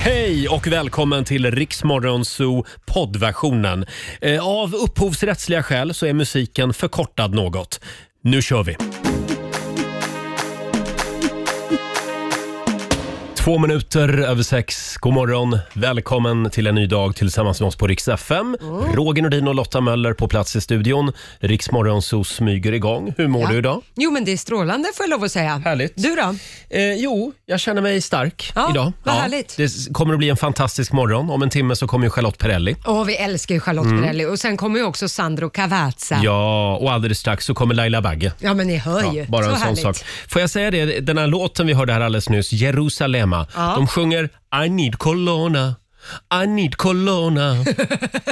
Hej och välkommen till Riksmorgon Zoo poddversionen. Eh, Av upphovsrättsliga skäl så är musiken förkortad något. Nu kör vi! Två minuter över sex. God morgon. Välkommen till en ny dag tillsammans med oss på Rix FM. Mm. Roger Nordin och Lotta Möller på plats i studion. Riksmorgon Zoo smyger igång. Hur mår Ja. du idag? Jo, men det är strålande får jag lov att säga. Härligt. Du då? Eh, jo, jag känner mig stark Ja, idag. vad härligt. Det s- kommer att bli en fantastisk morgon. Om en timme så kommer ju Charlotte Perrelli. Åh, vi älskar ju Charlotte Perrelli och sen kommer ju också Sandro Cavazza. Ja, Mm. Ja, och alldeles strax så kommer Laila Bagge. men ni hör Ja, ju. bara så en sån härligt. sak. Får jag säga det, den här låten vi hörde här alldeles nyss, Jerusalema. Ja. De sjunger I need Colonna, I need Colonna.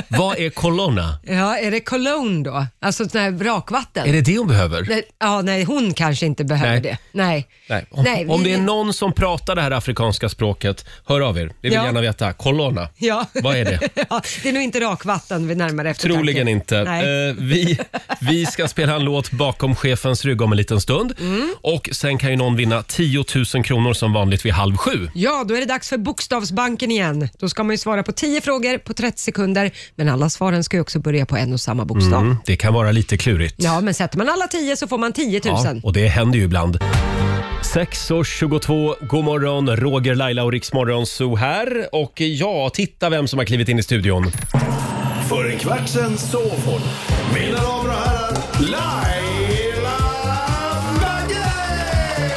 Vad är Colonna? Ja, är det cologne då? Alltså sån här brakvatten? Är det det hon behöver? Nej, Ja, nej, hon kanske inte behöver Nej. det. Nej. Nej. Om, Nej, vi- om det är någon som pratar det här afrikanska språket, hör av er. Vi vill Ja. gärna veta. Colonna, Ja. vad är det? ja, det är nog inte rakvatten vid närmare eftertanke. Troligen inte. Nej. Eh, vi, vi ska spela en låt bakom chefens rygg om en liten stund. Mm. Och Sen kan ju någon vinna 10 000 kronor som vanligt vid halv sju. Ja, då är det dags för Bokstavsbanken igen. Då ska man ju svara på 10 frågor på 30 sekunder, men alla svaren ska ju också börja på en och samma bokstav. Mm, det kan vara lite klurigt. Ja, men sätter man alla 10 så får man 10 000. Ja, och det händer ju ibland. 6.22, god morgon, Roger, Laila och Riksmorgon Zoo här. Och ja, titta vem som har klivit in i studion. För en kvart sen sov hon. Mina damer och herrar, Laila Bagge!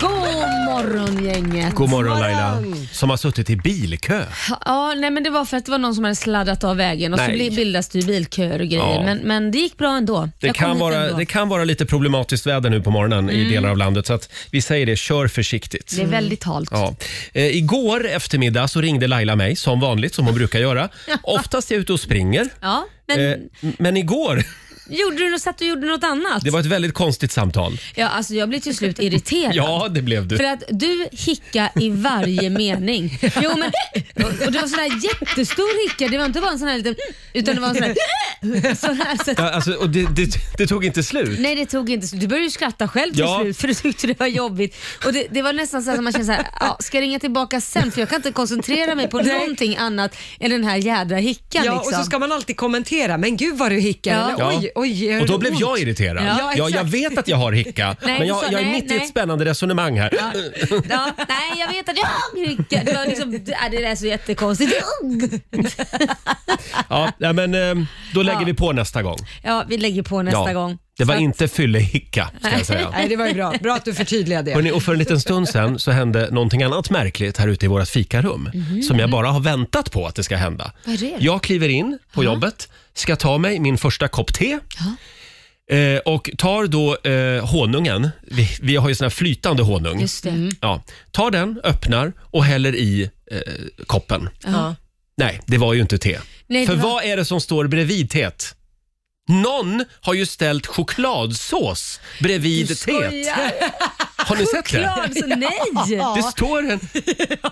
God morgon gänget. God morgon Laila, som har suttit i bilkö. Ja, nej, men det var för att det var någon som hade sladdat av vägen och Nej. så bli- bildas det ju bilköer och grejer. Ja. Men, men det gick bra ändå. Det Jag kom kan, hit vara, ändå. Mm. det kan vara lite problematiskt väder nu på morgonen i delar av landet, så att vi säger det, kör försiktigt. det är väldigt halt. Ja. Eh, igår eftermiddag så ringde Laila mig som vanligt, som hon brukar göra. Oftast är jag ute och springer. Ja, men Eh, m- men igår, gjorde du något, satt du och gjorde något annat? det var ett väldigt konstigt samtal. ja, alltså, jag blev till slut irriterad. Ja, det blev För du. att du hicka i varje mening. Jo, men, och det var sån där jättestor hicka, det var inte bara en sån här liten utan det var en sån här, sån här så att, Ja, alltså, och det, det, det tog inte slut. Nej det tog inte slut. Du började ju skratta själv till Ja. slut för du tyckte det var jobbigt. Och det, det var nästan så att man kände så här, ja, ska jag ringa tillbaka sen för jag kan inte koncentrera mig på Nej. någonting annat än den här jädra hickan. Ja, liksom. och så ska man alltid kommentera. Men gud vad du hickar. Ja. Eller, oj, oj, gör och då det blev ont? jag irriterad. Ja, Ja, jag, exakt. jag vet att jag har hicka, Nej, men du jag, sa jag är nej, mitt i ett nej. spännande resonemang här. Ja. Ja, nej, jag vet att jag hickar. Det, var liksom, ja, det där är så jättekonstigt. Ja, nej, men, eh, då lägger Ja. vi på nästa gång. Ja, vi lägger på nästa ja. gång. Det var Så att- inte fyllehicka, ska jag säga. Nej, det var ju bra. Bra att du förtydligade det. Hörrni, och för en liten stund sen så hände någonting annat märkligt här ute i vårt fikarum som jag bara har väntat på att det ska hända. Mhm. Vad är det? Jag kliver in på jobbet, ska ta mig min första kopp te eh, och tar då eh, honungen. Vi, vi har ju sån här flytande honung. Just det. Ja. Tar den, öppnar och häller i eh, koppen. Ja. Nej, det var ju inte te. Nej, För det var- vad är det som står bredvid teet? Någon har ju ställt chokladsås bredvid teet. Skojar. Har ni sett det? Choklad, så nej! Det står en,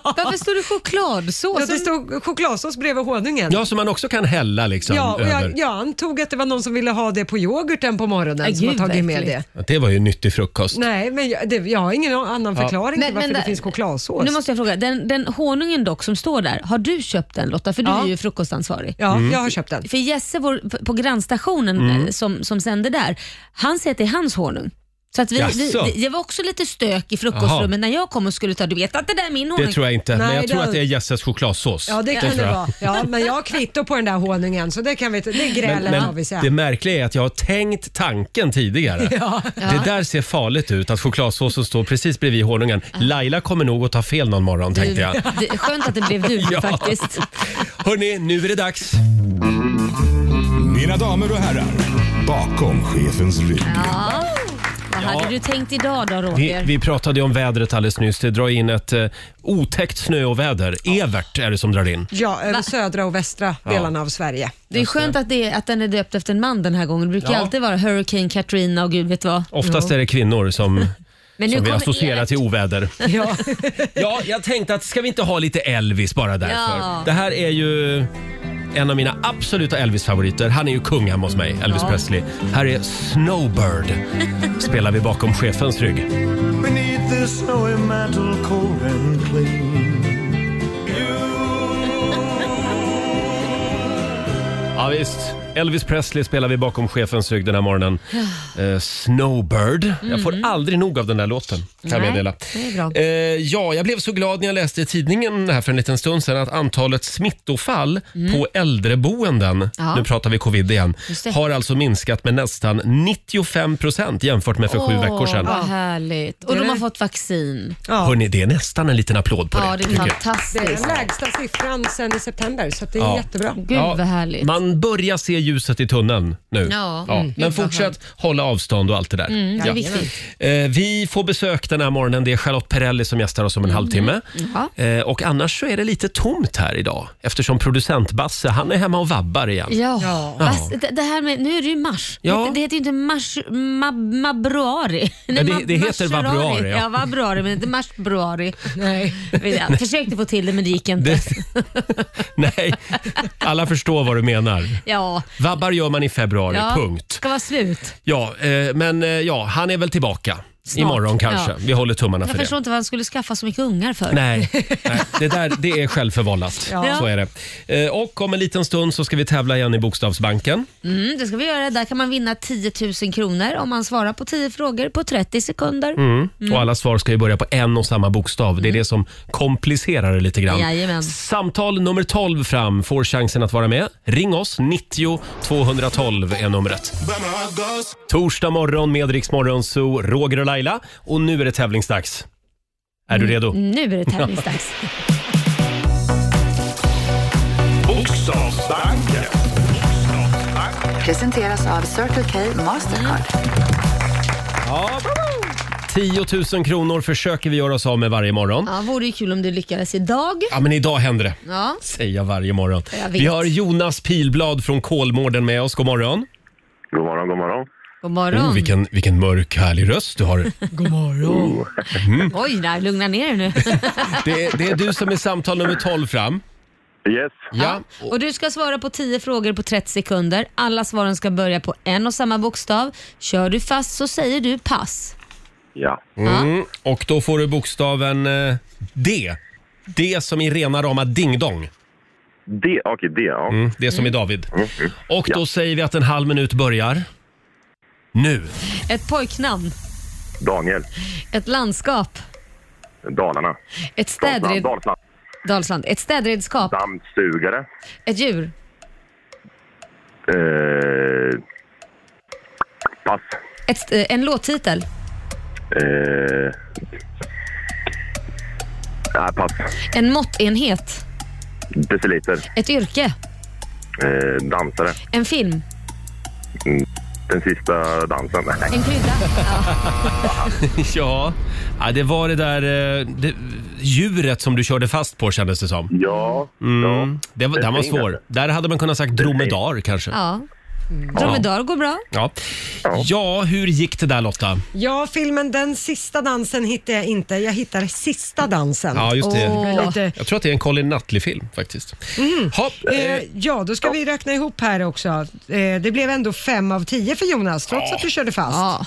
Varför står det chokladsås? Ja, det stod chokladsås bredvid honungen. ja, som man också kan hälla liksom Ja, och över. jag, jag antog att det var någon som ville ha det på yoghurten på morgonen Ja, som har gud, tagit med verkligen. det. Det var ju en nyttig frukost. Nej, men jag, det, jag har ingen annan förklaring till Men- varför men det där- finns chokladsås. Nu måste jag fråga, den, den honungen dock som står där, har du köpt den Lotta? För du Ja. är ju frukostansvarig. Ja, Mm. jag har köpt den. För Jesse vår, på grannstationen eh, som, som sände där, han säger att det är hans honung. Så att vi, vi, Jaså? det var också lite stök i frukostrummet när jag kom och skulle ta, du vet att det där är min honung. Det tror jag inte, men Nej, jag tror det- att det är Jesses chokladsås. Ja, det kan det, tror jag. vara. Ja, men jag har kvitto på den där honungen, så det kan vi inte- Det Men, grälen har men vi sen. det märkliga är att jag har tänkt tanken tidigare. Det där ser farligt ut, att chokladsåsen står precis bredvid honungen. Laila kommer nog att ta fel någon morgon, tänkte jag. Det är skönt att det blev du Ja. faktiskt. Hörni, nu är det dags. Mina damer och herrar, bakom chefens rygg. Ja. Vad hade du tänkt idag då Vi, Roger? vi pratade ju om vädret alldeles nyss. Det drar in ett eh, otäckt snöoväder. Evert är det som drar in. Ja, över södra och västra delarna av Sverige. Det är skönt att, det är, att den är döpt efter en man den här gången. Det brukar alltså- Ja. alltid vara Hurricane Katrina och gud vet vad. Oftast är det kvinnor som, Men nu som vi kommer associerar Evert. till oväder. Ja. Ja, jag tänkte att ska vi inte ha lite Elvis bara därför? Ja. Det här är ju en av mina absoluta Elvis-favoriter. Han är ju kung hemma hos mig, Elvis Presley. Här är Snowbird. Spelar vi bakom chefens rygg. Beneath this snowy mantle cold and clean. Ja, visst. Elvis Presley spelar vi bakom chefens rygg den här morgonen. Eh, Snowbird. Jag får aldrig nog av den där låten, kan jag Mm. Nej, meddela. det är bra. Eh, ja, jag blev så glad när jag läste i tidningen här för en liten stund sedan att antalet smittofall på äldreboenden, Mm. Ja. nu pratar vi covid igen, Just det. har alltså minskat med nästan 95 procent jämfört med för sju Åh, veckor sedan. Vad härligt. Och Det de är- har fått vaccin. Ja. Hörrni, det är nästan en liten applåd på Ja, det. det är tycker jag. Det är den fantastiskt. lägsta siffran sedan i september, så att det är Ja. jättebra. Gud vad härligt. Man börjar se ljuset i tunneln nu. Ja. Mm. Men fortsätt hålla avstånd och allt det där. det är Ja. viktigt. Eh, vi får besök den här morgonen. Det är Charlotte Perrelli som gästar oss om en halvtimme. Mm. Ja. Eh, och annars så är det lite tomt här idag eftersom producent Basse, han är hemma och vabbar igen. Ja. Ja. Fast det- det här med, nu är det ju mars. Ja. Det heter- Det heter ju inte mars, ma, mabruari. Nej, det- ma- det heter marsruari. vabruari, ja. Ja, vabruari, men inte marsbruari. Nej. Jag försökte få till det, men det gick inte. Det, nej, alla förstår vad du menar. Ja. Vabbar gör man i februari, ja. punkt. ska vara slut. Ja, eh, men eh, ja, han är väl tillbaka. Imorgon kanske. ja. Vi håller tummarna Jag för det. förstår inte vad han skulle skaffa så mycket ungar för. Nej, nej, det där det är självförvållat. Ja. Så är det. Eh, Och om en liten stund så ska vi tävla igen i Bokstavsbanken. Mm, det ska vi göra. Där kan man vinna 10 000 kronor om man svarar på 10 frågor på 30 sekunder. Mm. Mm. Och alla svar ska ju börja på en och samma bokstav. Det är det som komplicerar det lite grann. Jajamän. Samtal nummer 12 fram får chansen att vara med. Ring oss, 90 212 är numret. Torsdag morgon med Rix Morgon Zoo, Roger och Laila. Och nu är det tävlingsdags. Är Mm. du redo? Nu är det tävlingsdags. Bokstavsbanken. Presenteras av Circle K Mm. Mastercard. 10 000 kronor försöker vi göra oss av med varje morgon. Ja, vore ju kul om du lyckades idag. Ja, men idag händer det. Ja. säger jag varje morgon. Jag vet. Vi har Jonas Pilblad från Kolmården med oss. God morgon. God morgon, god morgon. God morgon. Oh, vilken, vilken mörk, härlig röst du har. Mm, Oj, där, lugna ner er nu. Det, är- det är du som är samtal nummer 12 fram. Yes, Ja. Och du ska svara på 10 frågor på 30 sekunder. Alla svaren ska börja på en och samma bokstav. Kör du fast så säger du pass. ja. Mm. Och då får du bokstaven eh, D. D som i rena rama ding-dong. Det, okej, det, ja. Mm, Det som i David. mm. Och då säger vi att en halv minut börjar. Nu. Ett pojknamn, Daniel, ett landskap, Dalarna. ett Dalsland, städred... Dalsland. Dalsland. Ett städredskap, Dammsugare. ett djur, Eh, pass. ett, st- eh, en låttitel, Eh, nej, pass. en måttenhet, Deciliter. ett yrke, Eh, dansare. Mm. en film, Den sista dansen. Nej, en krydda. Ja, ja det var det där eh, det, djuret som du körde fast på kändes det som. Mm. Ja, ja. Det var, den var svår. Där hade man kunnat sagt dromedar kanske. Ja. Dromedar går bra. Ja. ja, hur gick det där Lotta? Ja, filmen Den sista dansen hittar jag inte. Jag hittar Sista dansen. Ja, just det. Åh. Lite. Jag tror att det är en Colin Nutley-film faktiskt. Hopp, eh, Eh, ja, då ska vi räkna ihop här också. Eh, det blev ändå fem av tio för Jonas, trots att du körde fast. Ja.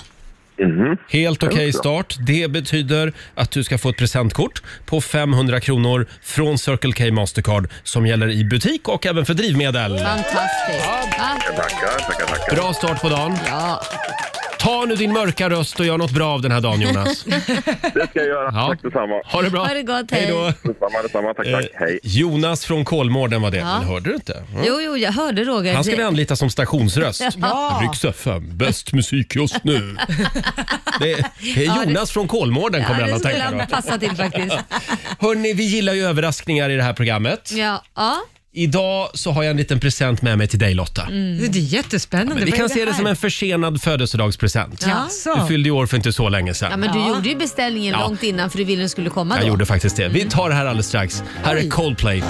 Mhm. helt okej start. Det betyder att du ska få ett presentkort på 500 kronor från Circle K Mastercard som gäller i butik och även för drivmedel. Fantastiskt. Va? Tackar, tackar, tackar. Bra start på dagen. Ja. Ta nu din mörka röst och gör något bra av den här dagen Jonas. Det ska jag göra. Ja. Tack detsamma. Ha det bra. Ha det gott, hej. då. Detsamma, detsamma. Tack, tack. Eh, Hej. Jonas från Kolmården var det. Ja. Men hörde du inte? Mm. Jo, jo, jag hörde Roger. Han ska vi Det- anlita som stationsröst. Ja. Rix FM, bäst musik just nu. Det är, det är Ja, det- Jonas från Kolmården kommer ja, han det att skulle tänka han då. passa till faktiskt. Hörni, vi gillar ju överraskningar i det här programmet. Ja, ja. Idag så har jag en liten present med mig till dig Lotta. Mm. Det, det är jättespännande. Men vi Vad är kan se det här? som en försenad födelsedagspresent. Jaså. Du fyllde ju år för inte så länge sedan. ja men du gjorde ju beställningen Ja. långt innan för du ville den skulle komma då. Jag gjorde faktiskt det. Vi tar det här alldeles strax. Här är Coldplay.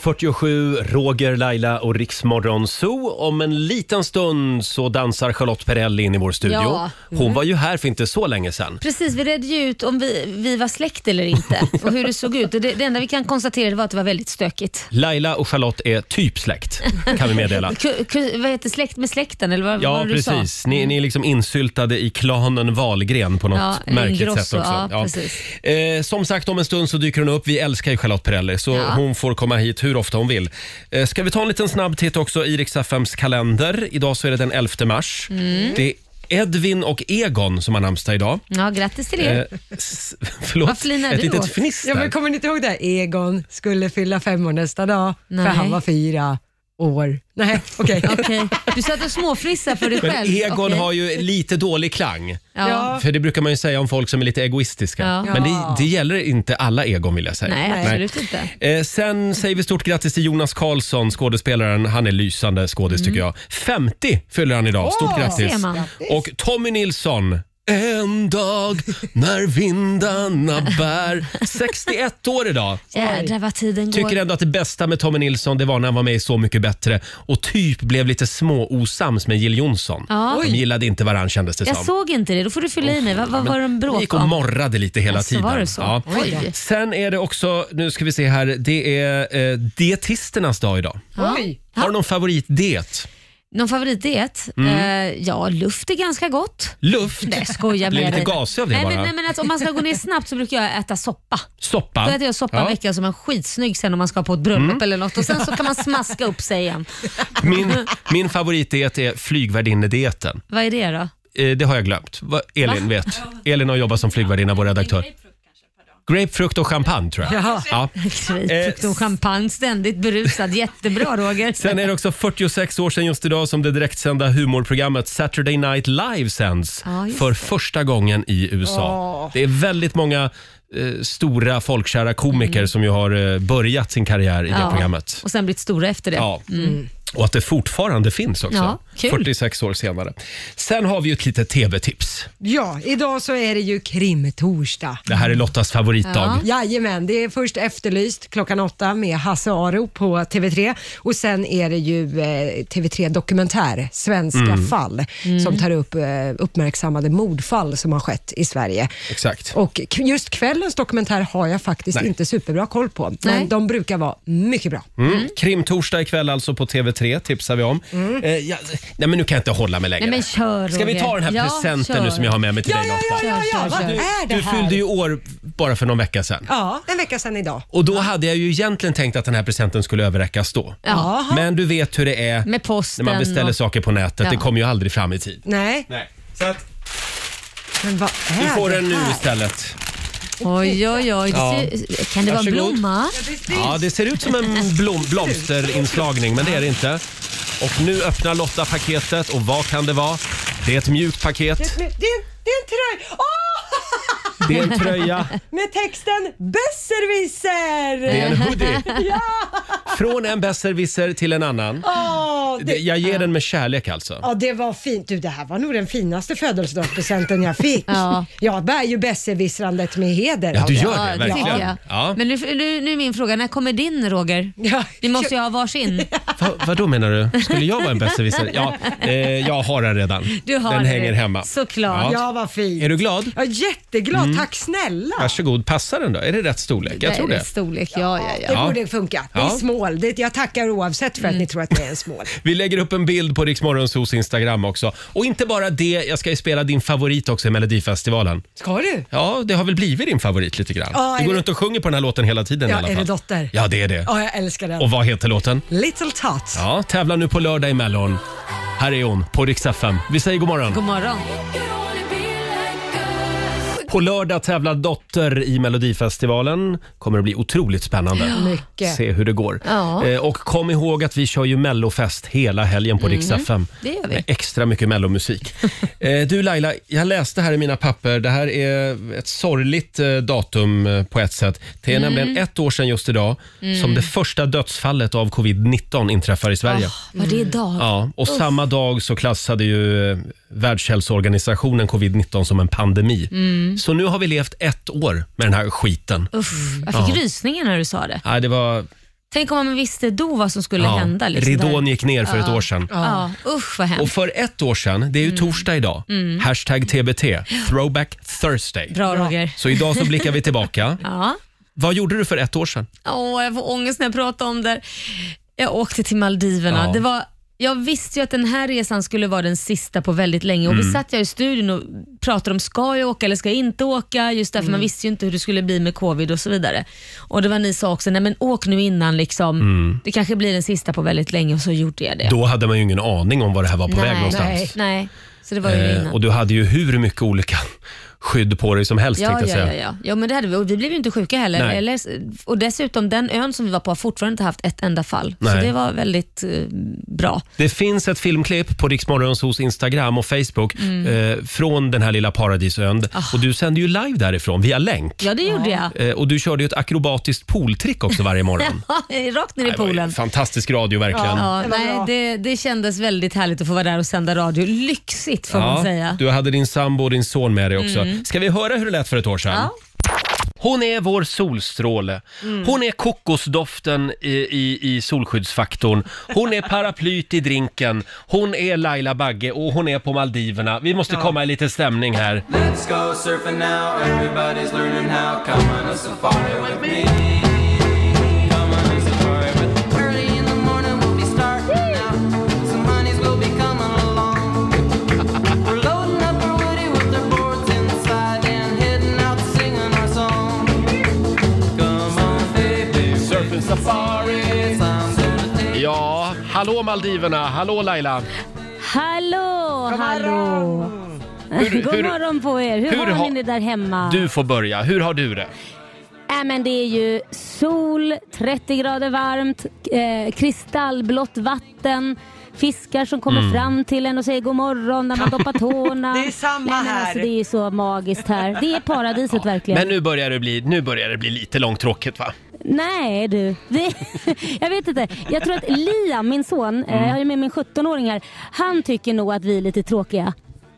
6.47, Roger, Laila och Riksmorgon Zoo. Om en liten stund så dansar Charlotte Perrelli in i vår studio. Ja. Mm. Hon var ju här för inte så länge sedan. Precis, vi redde ju ut om vi, vi var släkt eller inte och hur det såg ut. Och det, det enda vi kan konstatera var att det var väldigt stökigt. Laila och Charlotte är typ släkt, kan vi meddela. Ku- ku- vad heter släkt med släkten eller vad, vad Ja, var det du sa? precis. Ni, ni är liksom insyltade i klanen Wahlgren på något Ja, eller märkligt Ingrosso. sätt också. Ja, precis. Eh, som sagt, om en stund så dyker hon upp. Vi älskar ju Charlotte Perrelli, så Ja. hon får komma hit hur ofta hon vill. Eh, ska vi ta en liten snabb titt också i Rix FMs kalender? Idag så är det den 11 mars. Mm. Det är Edvin och Egon som har namnsdag idag. Ja, grattis till Eh, er. s- förlåt, Mm. Vad flinar ett du litet åt? fniss Ja, där. men kommer ni inte ihåg det? Egon skulle fylla fem år nästa dag, Nej. för han var fyra år. Nej, okej. Okej. Du satt och småfrissade för dig Men själv. Egon Okej. har ju lite dålig klang. Ja. Ja. För det brukar man ju säga om folk som är lite egoistiska. Ja. Men det, det gäller inte alla egon vill jag säga. Nej, absolut inte. Eh, sen säger vi stort grattis till Jonas Karlsson, skådespelaren. Han är lysande skådis tycker jag. 50 fyller han idag. Stort Åh, grattis. Mm. ser man. Och Tommy Nilsson. En dag när vindarna bär. 61 år idag. Jädrar vad tiden går. Tycker ändå att det bästa med Tommy Nilsson det var när han var med i Så mycket bättre och typ blev lite småosams med Jill Johnson. Ja. De gillade inte varandra kändes det Jag som. såg inte det, då får du fylla i mig. Vad, vad var de De bråk gick och om? morrade lite hela Jaså, tiden. Alltså, var det så? Oj då. Sen är det också, nu ska vi se här, det är eh, dietisternas dag idag. Oj. Har du någon favoritdiet? Någon favoritdiet? Mm. Eh, ja, luft är ganska gott. Luft? Nej, jag skojar Blev med lite dig. gasig av det nej, bara. Men, nej, men alltså, om man ska gå ner snabbt så brukar jag äta soppa. Soppa? Mm. Då äter jag soppa en vecka som är skitsnygg sen om man ska på ett bröllop eller något och sen så kan man smaska upp sig igen. Min, min favoritdiet är flygvärdinnedieten. Vad är det då? Eh, det har jag glömt. Vad Elin vet. Elin har jobbat som flygvärdinna, vår redaktör. Grapefrukt och champagne tror jag. Jaha. Ja. Eh, Grapefrukt och champagne, ständigt berusad. Jättebra Roger. Sen är det också 46 år sedan just idag som det direktsända humorprogrammet Saturday Night Live sänds Ja, just för första gången i USA. Det är väldigt många eh, stora folkkära komiker som ju har eh, börjat sin karriär i det Mm. Ja, programmet. Och sen blivit stora efter det. Mm. Ja. Och att det fortfarande finns också, Ja, kul. 46 år senare. Sen har vi ju ett litet tv-tips. Ja, idag så är det ju krimtorsdag. Det Mm. här är Lottas favoritdag. Jajamän, det är först Efterlyst klockan åtta med Hasse Aro på TV3 och sen är det ju eh, TV3 Dokumentär, Svenska Mm. fall, Mm. som tar upp eh, uppmärksammade mordfall som har skett i Sverige. Exakt. Och k- just kvällens dokumentär har jag faktiskt Nej. inte superbra koll på, men Nej. de brukar vara mycket bra. Mm. Krimtorsdag ikväll alltså på TV3 tipsar vi om. Eh, ja, nej men nu kan jag inte hålla mig längre. Mm. Nej, men kör, Ska vi ta den här Roger. Ja, presenten nu kör. som jag har med mig till Ja, dig ja, ja, Lotta? ja, ja, Kör, vad kör, kör. är det Du här? fyllde ju år bara för någon vecka sedan. Ja, en vecka sedan idag. Och då hade jag ju egentligen tänkt att den här presenten skulle överräckas då. Ja. Men du vet hur det är Med posten när man beställer och- saker på nätet. Det Ja. kommer ju aldrig fram i tid. Nej, Nej. Så att men vad är du får det den nu här? istället. Oj, oj, oj. Det Ja. ser, kan det vara en Varsågod. blomma? Ja, det ser ut som en blom, blomsterinslagning, men det är det inte. Och nu öppnar Lotta paketet och vad kan det vara? Det är ett mjukt paket, Men Det är, det är en tröja. Åh! det är en tröja, Med texten Besserwisser! det är en hoodie. Från en besserwisser till en annan. Åh, Det- det, Jag ger den med kärlek alltså. ja, det var fint. Du, det här var nog den finaste födelsedagspresenten jag fick. Ja. Jag bär ju besserwissrandet med Ja, heder. du av det. gör det, det tycker verkligen. jag. Ja. Men nu, nu, nu är min fråga, när kommer din Roger? Ja. Vi måste ju ha varsin. Va, vad då menar du? Skulle jag vara en besserwisser? Ja, eh, jag har den redan. Du har den det. hänger hemma. Såklart. Ja, vad fint. Är du glad? Ja, jätteglad. Tack snälla. Varsågod, passar den då? Är det rätt storlek? Jag tror Nej, det. Storlek, ja, ja, ja. Mm. Det Ja. borde funka. Det är Ja. smål. Det, jag tackar oavsett för att ni tror att det är en smål. Vi lägger upp en bild på Riksmorgonsos Instagram också. Och inte bara det, jag ska ju spela din favorit också i Melodifestivalen. Ska du? Ja, det har väl blivit din favorit lite grann. Ja, du är går det- runt och sjunger på den här låten hela tiden i Ja, alla är fall. det Dotter? Ja, det är det. Ja, jag älskar den. Och vad heter låten? Little Tots. Ja, tävlar nu på lördag i Mellon. Här är hon på Rix FM. Vi säger god morgon. God morgon. På lördag tävlar Dotter i Melodifestivalen. Kommer att bli otroligt spännande. Mycket. Se hur det går. Ja. Eh, och kom ihåg att vi kör ju mellofest hela helgen på Rix FM. Mm. det gör vi. Med extra mycket mellomusik. eh, du Laila, jag läste här i mina papper. Det här är ett sorgligt eh, datum eh, på ett sätt. Det är Mm. nämligen ett år sedan just idag som det första dödsfallet av covid-19 inträffar i Sverige. Var det idag? Ja, och samma dag så klassade ju eh, Världshälsoorganisationen covid-19 som en pandemi. Mm. Så nu har vi levt ett år med den här skiten. Uff, jag fick rysningar när du sa det. Nej, det var Tänk om man visste då vad som skulle Ja, hända. Liksom, Ridån där. gick ner för ett Ja. år sedan. Ja. Mm. Usch vad Och hemskt. för ett år sedan, det är ju torsdag idag, hashtag TBT, throwback Thursday. Bra Roger. Så idag så blickar vi tillbaka. Ja. Vad gjorde du för ett år sedan? Åh, jag får ångest när jag pratar om det. Jag åkte till Maldiverna. Ja. Det var, jag visste ju att den här resan skulle vara den sista på väldigt länge och Mm. vi satt jag i studion och pratade om ska jag åka eller ska jag inte åka? Just därför Mm. man visste ju inte hur det skulle bli med covid och så vidare. Och det var ni sa också, nej men åk nu innan liksom. Det kanske blir den sista på väldigt länge och så gjorde jag det. Mm. Då hade man ju ingen aning om vad det här var på väg någonstans. nej, nej, så det var ju det Eh, innan. och du hade ju hur mycket olika skydd på dig som helst Ja, tänkte ja, jag säga. ja, ja. ja men det hade vi. Och vi blev ju inte sjuka heller. Nej. Eller, och dessutom, den ön som vi var på har fortfarande inte haft ett enda fall. Nej. Så det var väldigt eh, bra. Det finns ett filmklipp på Riksmorgons hos Instagram och Facebook Mm. eh, från den här lilla paradisön. Ah. Och du sänder ju live därifrån via länk. Ja, det gjorde Eh, och du körde ju ett akrobatiskt pooltrick också varje morgon. jag. Rakt ner i Det var ju poolen. Fantastisk radio verkligen. Ja, Det var nej, bra. det, det kändes väldigt härligt att få vara där och sända radio. Lyxigt får man säga. Mm. Du hade din sambo och din son med dig också. Ska vi höra hur det lät för ett år sedan? Ja. Mm. Hon är vår solstråle. Hon är kokosdoften i, i, i solskyddsfaktorn. Hon är paraplyt i drinken. Hon är Laila Bagge och hon är på Maldiverna. Vi måste komma i lite stämning här. Let's go surfing now, everybody's learning how. Come on a safari with me. Come on a safari with me. Early in the morning, we'll be starting out. Some honeys will be coming along. We're loading up our woody with their boards inside and heading out singing our song. Come on, baby. Surf and safari. It's time to take Ja, hallå Maldiverna, hallå Laila. Hallå, hallå! Hur- God hur- morgon på er! Hur, hur har har- ni det där hemma? Du får börja, hur har du det? Äh, men det är ju sol, 30 grader varmt, eh, kristallblått vatten, fiskar som kommer Mm. fram till en och säger god morgon när man doppar tårna. Det är samma Nej, men här. Alltså, det är ju så magiskt här. Det är paradiset verkligen. Men nu börjar det bli, nu börjar det bli lite långtråkigt va? Nej du, det, jag vet inte. Jag tror att Liam, min son, Mm. eh, jag har ju med min 17-åring här, han tycker nog att vi är lite tråkiga.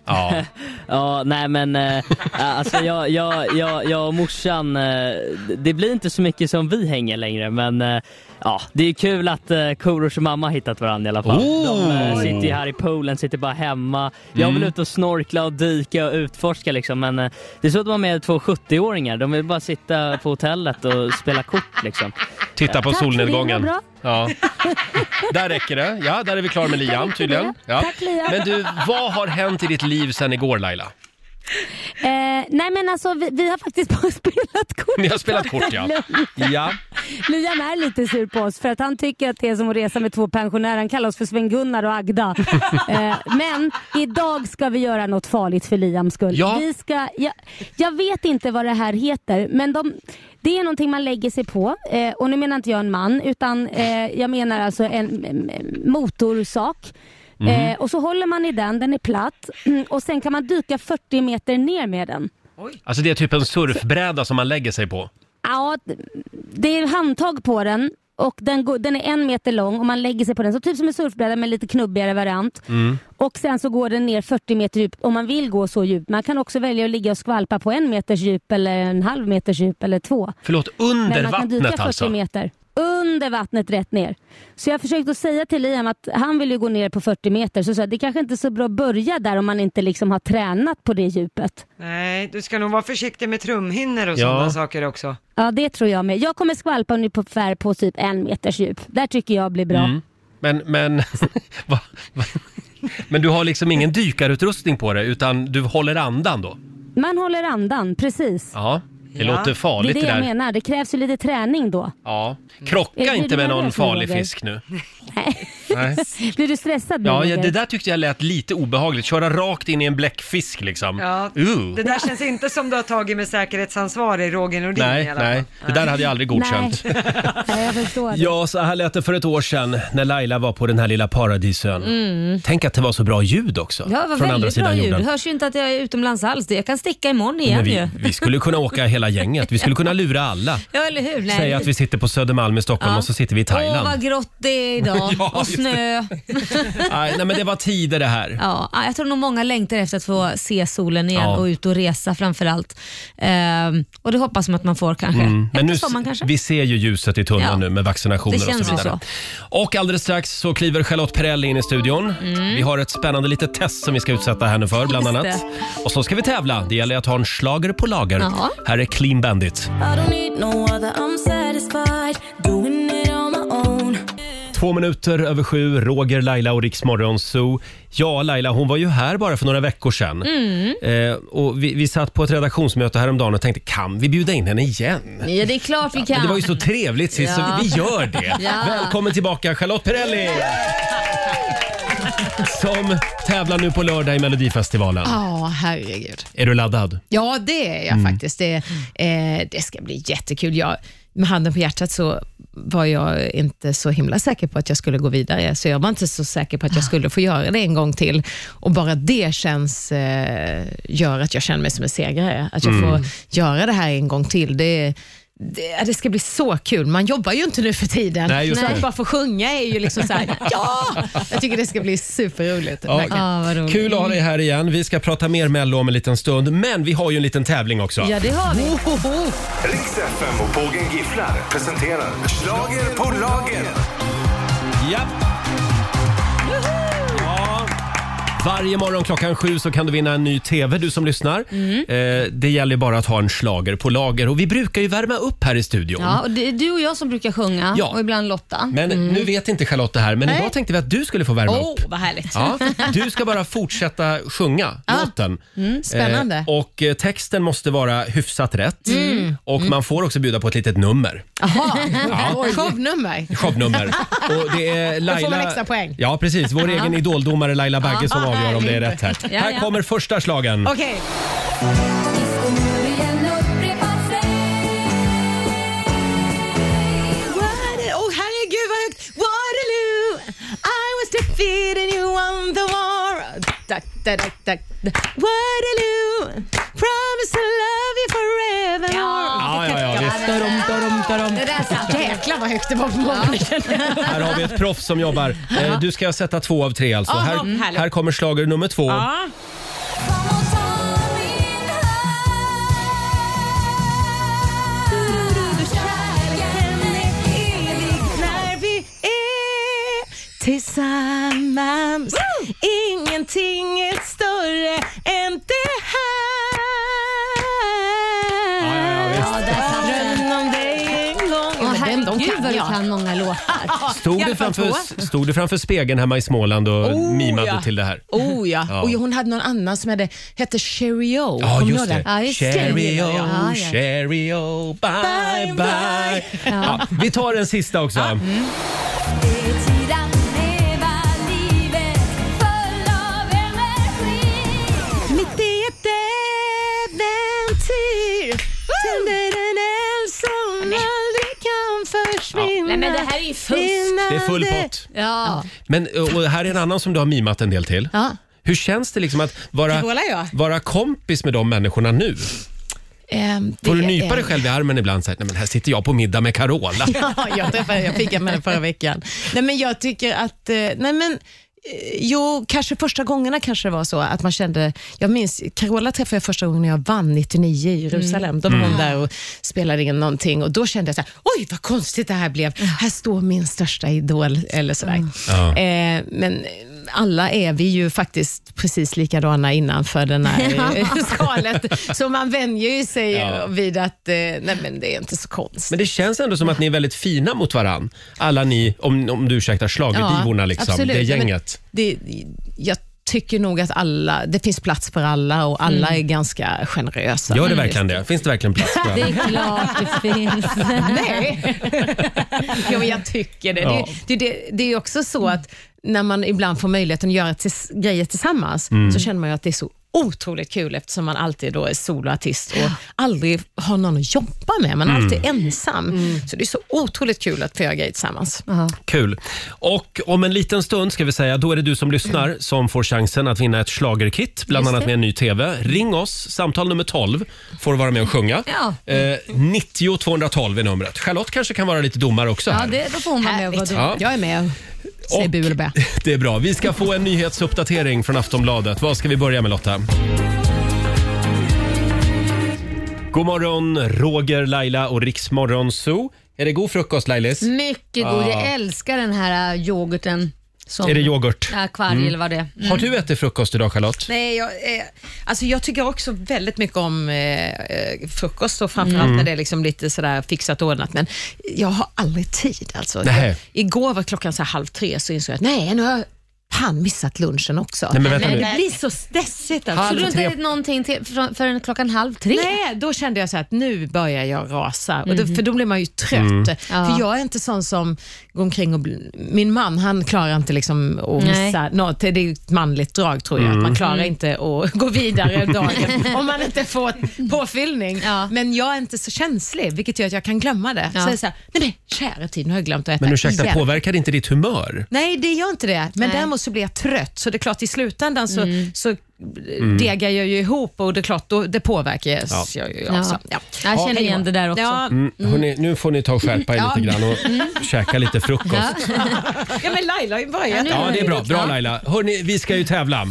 Ja. Ja, nej men eh, alltså jag, jag, jag, jag och morsan, eh, det blir inte så mycket som vi hänger längre men eh, ja, det är kul att eh, Korosh och mamma har hittat varandra i alla fall. Oh! De eh, sitter ju här i poolen, sitter bara hemma. Jag Mm. vill ut och snorkla och dyka och utforska liksom men eh, det är så att man med två 70-åringar, de vill bara sitta på hotellet och spela kort liksom. Titta på Tack för det, solnedgången. vad bra. Ja. Där räcker det. Ja, där är vi klara med Liam tydligen. Ja. Tack, Liam. Men du, vad har hänt i ditt liv sedan igår Laila? Eh, nej men alltså vi, vi har faktiskt bara spelat kort. Ni har spelat kort ja. Ja, Liam är lite sur på oss för att han tycker att det är som att resa med två pensionärer. Han kallar oss för Sven-Gunnar och Agda. eh, men idag ska vi göra något farligt för Liams skull. Ja. Vi ska, jag, jag vet inte vad det här heter men de, det är någonting man lägger sig på eh, och nu menar inte jag en man utan eh, jag menar alltså en em, em, motorsak. Eh, och så håller man i den, den är platt och sen kan man dyka 40 meter ner med den. alltså det är typ en surfbräda som man lägger sig på. Ja, det är handtag på den och den, går, den är en meter lång och man lägger sig på den. Så typ som en surfbräda men lite knubbigare variant. Mm. Och sen så går den ner 40 meter djupt om man vill gå så djupt. Man kan också välja att ligga och skvalpa på en meters djup eller en halv meters djup eller två. Förlåt, under Men man kan dyka vattnet 40 alltså? meter. Under vattnet rätt ner. Så jag försökte att säga till Liam att han vill ju gå ner på 40 meter. Så jag sa, det kanske inte är så bra att börja där om man inte liksom har tränat på det djupet. Nej, du ska nog vara försiktig med trumhinnor och Ja. sådana saker också. Ja, det tror jag med. Jag kommer skvalpa nu på fär på typ en meters djup. Där tycker jag blir bra. Mm. Men, men, va, va? men du har liksom ingen dykarutrustning på dig utan du håller andan då? Man håller andan, precis. Ja, det Ja. låter det är farligt det det jag där. menar. Det krävs ju lite träning då. Ja. Krocka Är det inte med det någon jag farlig frågar? fisk nu. Nej. Nej. Blir du stressad nu, Ja, ja, Roger? det där tyckte jag lät lite obehagligt. Köra rakt in i en bläckfisk liksom. Ja, Uh. Det där känns inte som du har tagit med säkerhetsansvarig Roger Nordin i Nej, alla fall. nej, det där hade jag aldrig godkänt. Nej. Nej, jag förstår. det. Ja, så här lät det för ett år sedan när Laila var på den här lilla paradisön. Tänk att det var så bra ljud också Mm. Ja, det var från andra väldigt bra sidan ljud. Det jorden. hörs ju inte att jag är utomlands alls. Det- Jag kan sticka imorgon igen Men vi, ju. vi skulle kunna åka hela gänget. Vi skulle kunna lura alla. Ja, eller hur? Nej. Säga att vi sitter på Södermalm i Stockholm Ja. och så sitter vi i Åh, Thailand. vad grått det är idag. Ja, och just snö. Nej, nej, men det var tider det här. Ja, ah, jag tror nog många längtar efter att få se solen igen Ja. och ut och resa framför allt. Ehm, och det hoppas man att man får kanske. Mm, Efter nu, sommaren kanske. vi ser ju ljuset i tunneln Ja. nu med vaccinationer Det och känns så vidare. Och alldeles strax så kliver Charlotte Perrelli in i studion. Vi har ett spännande litet test som vi ska utsätta henne för bland Mm. Just annat. det. Och så ska vi tävla. Det gäller att ha en slager på lager. Ja. Här är Clean Bandit. I don't need no other, I'm satisfied doing it on my own. Två minuter över sju, Roger, Laila och Riksmorgon Zoo. Ja, Laila, hon var ju här bara för några veckor sedan. Mm. Eh, och vi, vi satt på ett redaktionsmöte häromdagen och tänkte, kan vi bjuda in henne igen? Ja, det är klart vi kan. Men det var ju så trevligt sist, Ja. så vi gör det. Ja. Välkommen tillbaka Charlotte Perrelli! Som tävlar nu på lördag i Melodifestivalen. Ja, herregud. Är du laddad? Ja, det är jag Mm. faktiskt. Det, eh, det ska bli jättekul. Jag, med handen på hjärtat så var jag inte så himla säker på att jag skulle gå vidare, så jag var inte så säker på Ah. att jag skulle få göra det en gång till. Och Bara det känns, eh, gör att jag känner mig som en segrare. Att jag Mm. får göra det här en gång till, det, det, ja, det ska bli så kul. Man jobbar ju inte nu för tiden, Nej, just så det. att bara få sjunga är ju liksom så här, ja! Jag tycker det ska bli superroligt. Ja. verkligen. Kul att ha dig här igen. Vi ska prata mer Mello om en liten stund, men vi har ju en liten tävling också. Ja, det har vi. Riks FM och Pågen Gifflar presenterar Schlager på lager. Ja. Ja. Varje morgon klockan sju så kan du vinna en ny TV, du som lyssnar. Mm. Eh, det gäller bara att ha en slager på lager och vi brukar ju värma upp här i studion. Ja, och det är du och jag som brukar sjunga Ja. och ibland Lotta. Men Mm. nu vet inte Charlotte det här, men Nej. idag tänkte vi att du skulle få värma Åh, upp. vad härligt. Ja, du ska bara fortsätta sjunga Ah. låten. Mm, spännande. Eh, och eh, texten måste vara hyfsat rätt. Mm. Och man får också bjuda på ett litet nummer. Jaha, Ja. shownummer. Shownummer. Och det är Då Laila... får man extra poäng. Ja, precis. Vår Ja. egen idoldomare Laila Bagge Ja. som avgör om det är rätt här. Ja, ja. Här kommer första slagen. Okej. Water- Åh, herregud vad högt! Waterloo, I was defeated, you won the war. Da, da, da, da, da. Waterloo, promise to love you forever. Ja, ja, ja, visst. Darum, darum, darum. Det där satt. Jäklar vad högt det var på morgonen. Här har vi ett proffs som jobbar. Eh, Du ska sätta två av tre alltså. Aha, Här, härligt. här kommer slager nummer två. Ja. När vi är Tillsammans, ingenting är större än det här. Ja, Drömde om dig en gång. Åh, Ja, men den- de herregud vad du jag. kan många låtar. Stod du, framför, stod du framför spegeln hemma i Småland och Oh, mimade ja. till det här? Oh ja. Ja. Och hon hade någon annan som hade, hette Cheerio. Ja, Kommer du just ihåg det. den? Cheerio, Ja, ja. Cheerio, bye, bye. Ja. mm. Ja, vi tar den sista också. Mitt i ett äventyr tänder en eld som aldrig kan försvinna. Nej, men det här är ju fusk. Det är full pott. Ja. Men och här är en annan som du har mimat en del till. Ja. Hur känns det liksom att vara, Vrålar jag? vara kompis med de människorna nu? Ehm, Får du det nypa är- dig själv i armen ibland? Så här, Nej, men här sitter jag på middag med Carola. ja, jag, träffade, jag fick en med den förra veckan. Nej, men jag tycker att, eh, nej men, eh, jo, kanske första gångerna kanske det var så att man kände, jag minns, Carola träffade jag första gången när jag vann 99 i Jerusalem. Då var hon Mm. där och spelade in någonting och då kände jag så här, oj vad konstigt det här blev. Här står min största idol eller sådär. Mm. Ja. Eh, men eh, alla är vi ju faktiskt precis likadana innanför den här eh, Ja. skalet. Så man vänjer ju sig Ja. vid att eh, nej men det är inte så konstigt. Men det känns ändå som att ni är väldigt fina mot varann. Alla ni, om, om du ursäktar, schlagerdivorna liksom. absolut. Det Ja, men gänget. Det, jag tycker nog att alla, det finns plats för alla och alla Mm. är ganska generösa. Gör det verkligen det? Finns det verkligen plats för Det alla? är klart det finns. Nej. Jo, men jag tycker det. Ja. Det, det, det. det är ju också så att när man ibland får möjligheten att göra tills, grejer tillsammans Mm. så känner man ju att det är så otroligt kul eftersom man alltid då är soloartist och aldrig har någon att jobba med. Man är Mm. alltid ensam. Mm. Så det är så otroligt kul att få göra grejer tillsammans. Kul. Och om en liten stund ska vi säga, då är det du som lyssnar som får chansen att vinna ett schlagerkit, bland Just annat det. med en ny TV. Ring oss, samtal nummer 12 får du vara med och sjunga. Ja. Eh, 90 212 är numret. Charlotte kanske kan vara lite domare också. Ja, här. det, då får hon vara med och vara Ja. dum. Jag är med. säger bu eller bä. Det är bra. Vi ska få en nyhetsuppdatering från Aftonbladet. Vad ska vi börja med Lotta? God morgon, Roger, Laila och Riksmorgon Zoo. Är det god frukost Lailis? Mycket god. Ja. Jag älskar den här äh, yoghurten. Som, Är det yoghurt? Ja, kvarg Mm. eller vad det är. Har du ätit frukost idag Charlotte? Nej, jag, eh, alltså jag tycker också väldigt mycket om eh, eh, frukost och framförallt Mm. när det är liksom lite sådär fixat och ordnat. Men jag har aldrig tid. Alltså. Nej. Jag, igår var klockan så här halv tre så insåg jag att nej, nu har jag fan missat lunchen också. Nej, men vänta nu. det blir så stressigt. Så Alltså. du har inte ätit någonting till, för, förrän klockan halv tre? Nej, då kände jag så här att nu börjar jag rasa. Och då, för då blir man ju trött. Mm. Ja. För jag är inte sån som går omkring och... bl- Min man, han klarar inte liksom att Nej. missa något. Det är ju ett manligt drag tror jag. Mm. Att man klarar Mm. inte att gå vidare dagen om man inte får påfyllning. Men jag är inte så känslig, vilket gör att jag kan glömma det. Ja. Så jag är så här, nej, nej, kära tid, nu har jag glömt att äta Men ursäkta, igen. påverkar det inte ditt humör? Nej, det gör inte det. Men Nej. däremot så blir jag trött. Så det är klart, i slutändan så, så Mm. degar jag ju ihop och det är klart, då, det påverkar jag. Ja. jag, jag, Ja. Så, ja. Jag känner Hej då. igen det där också. Ja, Mm, hörni, nu får ni ta och skärpa er Ja. lite grann och Mm. käka lite frukost. ja, men Laila har ju börjat. Ja, det är bra. Bra Laila. Hörni, vi ska ju tävla.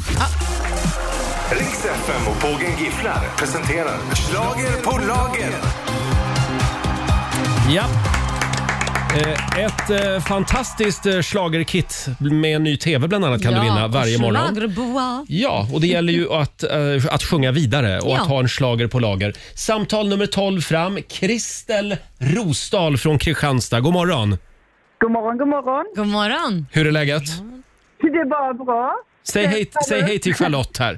Riks FM och Pågen Gifflar presenterar Schlager på lager. Ja. Eh, Ett eh, fantastiskt eh, schlagerkit med en ny tv bland annat kan du vinna varje morgon. Schlagerboa. Ja, och det gäller ju att, eh, att sjunga vidare och Ja. att ha en slager på lager. Samtal nummer 12 fram. Kristel Rosdahl från Kristianstad. God morgon! God morgon, god morgon. God morgon. Hur är läget? Det är bara bra. Säg hej, säg hej till Charlotte här.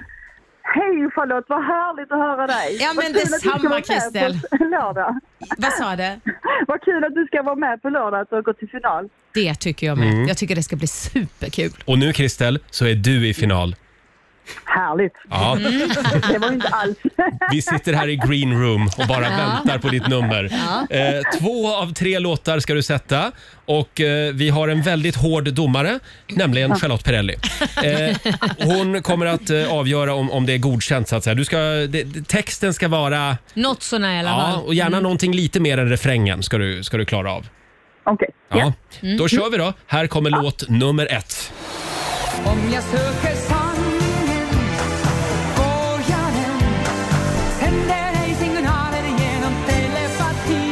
Hej Charlotte, vad härligt att höra dig. Ja, Vad men kul att du ska detsamma, vara med Kristel. på Lördag. Vad sa du? Vad kul att du ska vara med på lördag och gå till final. Det tycker jag med. Mm. Jag tycker det ska bli superkul. Och nu Kristel, så är du i final. Härligt. Ja. Mm. Det var ju inte alls. Vi sitter här i green room och bara Ja. väntar på ditt nummer. Ja. Eh, två av tre låtar ska du sätta och eh, vi har en väldigt hård domare, nämligen Ja. Charlotte Perrelli. Eh, hon kommer att eh, avgöra om, om det är godkänt så att säga. Du ska, det, det- texten ska vara, Något sånär i alla ja, fall. och gärna Mm. någonting lite mer än refrängen ska du, ska du klara av. Okej. Ja. Mm. Då kör vi då. Här kommer låt nummer ett. Om jag söker sanningen får jag den Sänder dig signaler genom telepati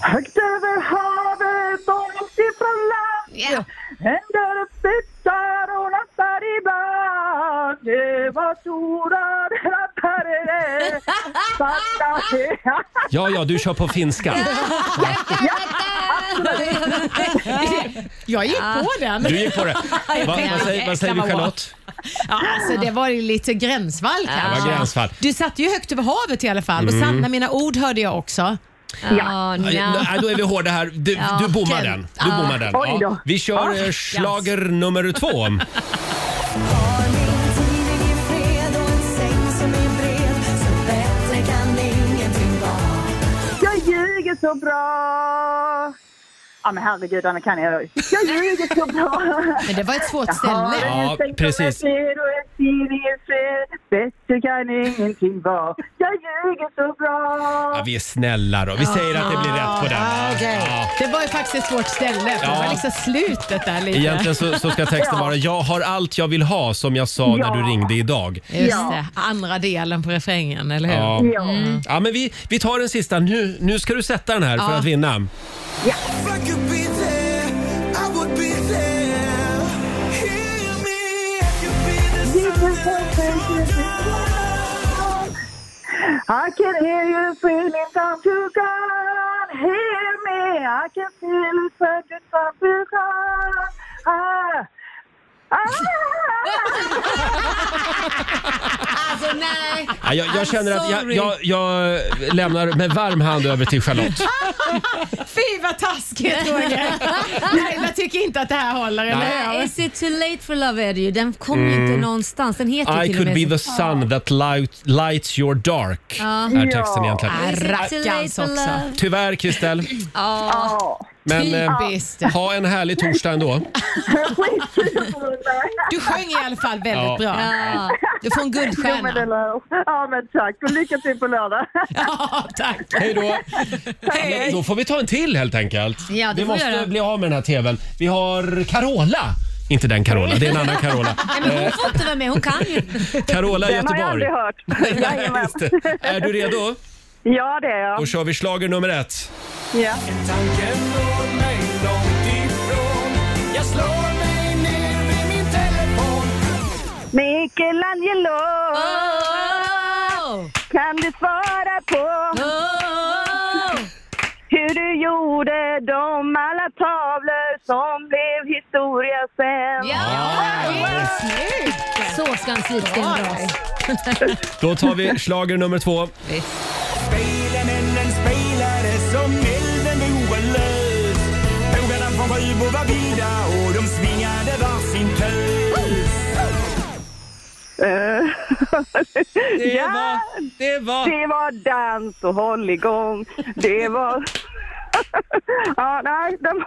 Högt över havet, långt ifrån land. Händer spetsar och lastar ibland. Det var stora rappare. Sakta det. Ja, ja, du kör på finska. Jag gick på den. Du gick på det. Va, vad säger, vad säger vi Charlotte? Ja, alltså, det var ju lite gränsfall kanske. var gränsfall. Du satt ju högt över havet i alla fall och Mm. sanna mina ord hörde jag också. Ja. Nej, då är vi hårda här. Du, Ja. du bommar Okej. den. Du Ja. bommar den. Oj då. Ah, Ja. Vi Ja. kör eh, schlager nummer två. Tidning i fred och en säng som är bred Så bättre kan ingenting vara Jag ljuger så bra. Ja men herregud, den kan jag ju. Jag ljuger så bra. Men det var ett svårt ställe. Ja, precis. Bättre kan ingenting vara. Jag ljuger så Ja, bra. vi är snälla då. Vi säger att det blir rätt på den. Ah, okej. Ja. Det var ju faktiskt ett svårt ställe. för Ja. Det var liksom slutet där lite. Egentligen så, så ska texten vara “Jag har allt jag vill ha” som jag sa när Ja. du ringde idag. Just det, andra delen på refrängen, eller hur? Ja. Mm. ja, men vi, vi tar den sista. Nu, nu ska du sätta den här för Ja. att vinna. If I could be there, I would be there Hear me, I could be the I can hear you feeling down to God. Hear me. I can feel it searching down to God. Ah. Alltså nej. Ja, jag, jag I'm känner att jag, sorry. jag, jag lämnar med varm hand över till Charlotte. Fy vad taskigt Roger. Laila tycker inte att det här håller, eller hur? Is it too late for love är det ju. Den kom ju Mm. inte någonstans. Den heter ju I till could och med be the sun that light, lights your dark. Ja. Är texten egentligen. Ja. Is it too late for love? Tyvärr Kristel. Ja. Men eh, Typiskt. ha en härlig torsdag ändå. Du sjöng i alla fall väldigt Ja. bra. Ja. Du får en Jo, guldstjärna. men det lär- Ja, men tack. Och lycka till på lördag. Ja, tack. Hej då. Men Då får vi ta en till helt enkelt. Ja, det vi får vi måste göra. bli av med den här tvn. Vi har Carola. Inte den Carola, det är en annan Carola. Eh. Nej, men hon får inte vara med, hon kan ju. Carola i Den har jag Göteborg. aldrig hört. Nej, Eh, just det. Är du redo? Ja, det är jag. Då kör vi slager nummer ett. Ja. Michelangelo, Oh. kan du svara på Oh. hur du gjorde de alla tavlor som blev historia sen? Så ska en slipsten dras. Då tar vi slager nummer två. Spelmännen spelade som elden oerlös. Bågarna från Sjöbo var vilda och de svingade varsin tös. Det, ja, var- det var... Det var dans och hålligång. Det var... ja, nej, de...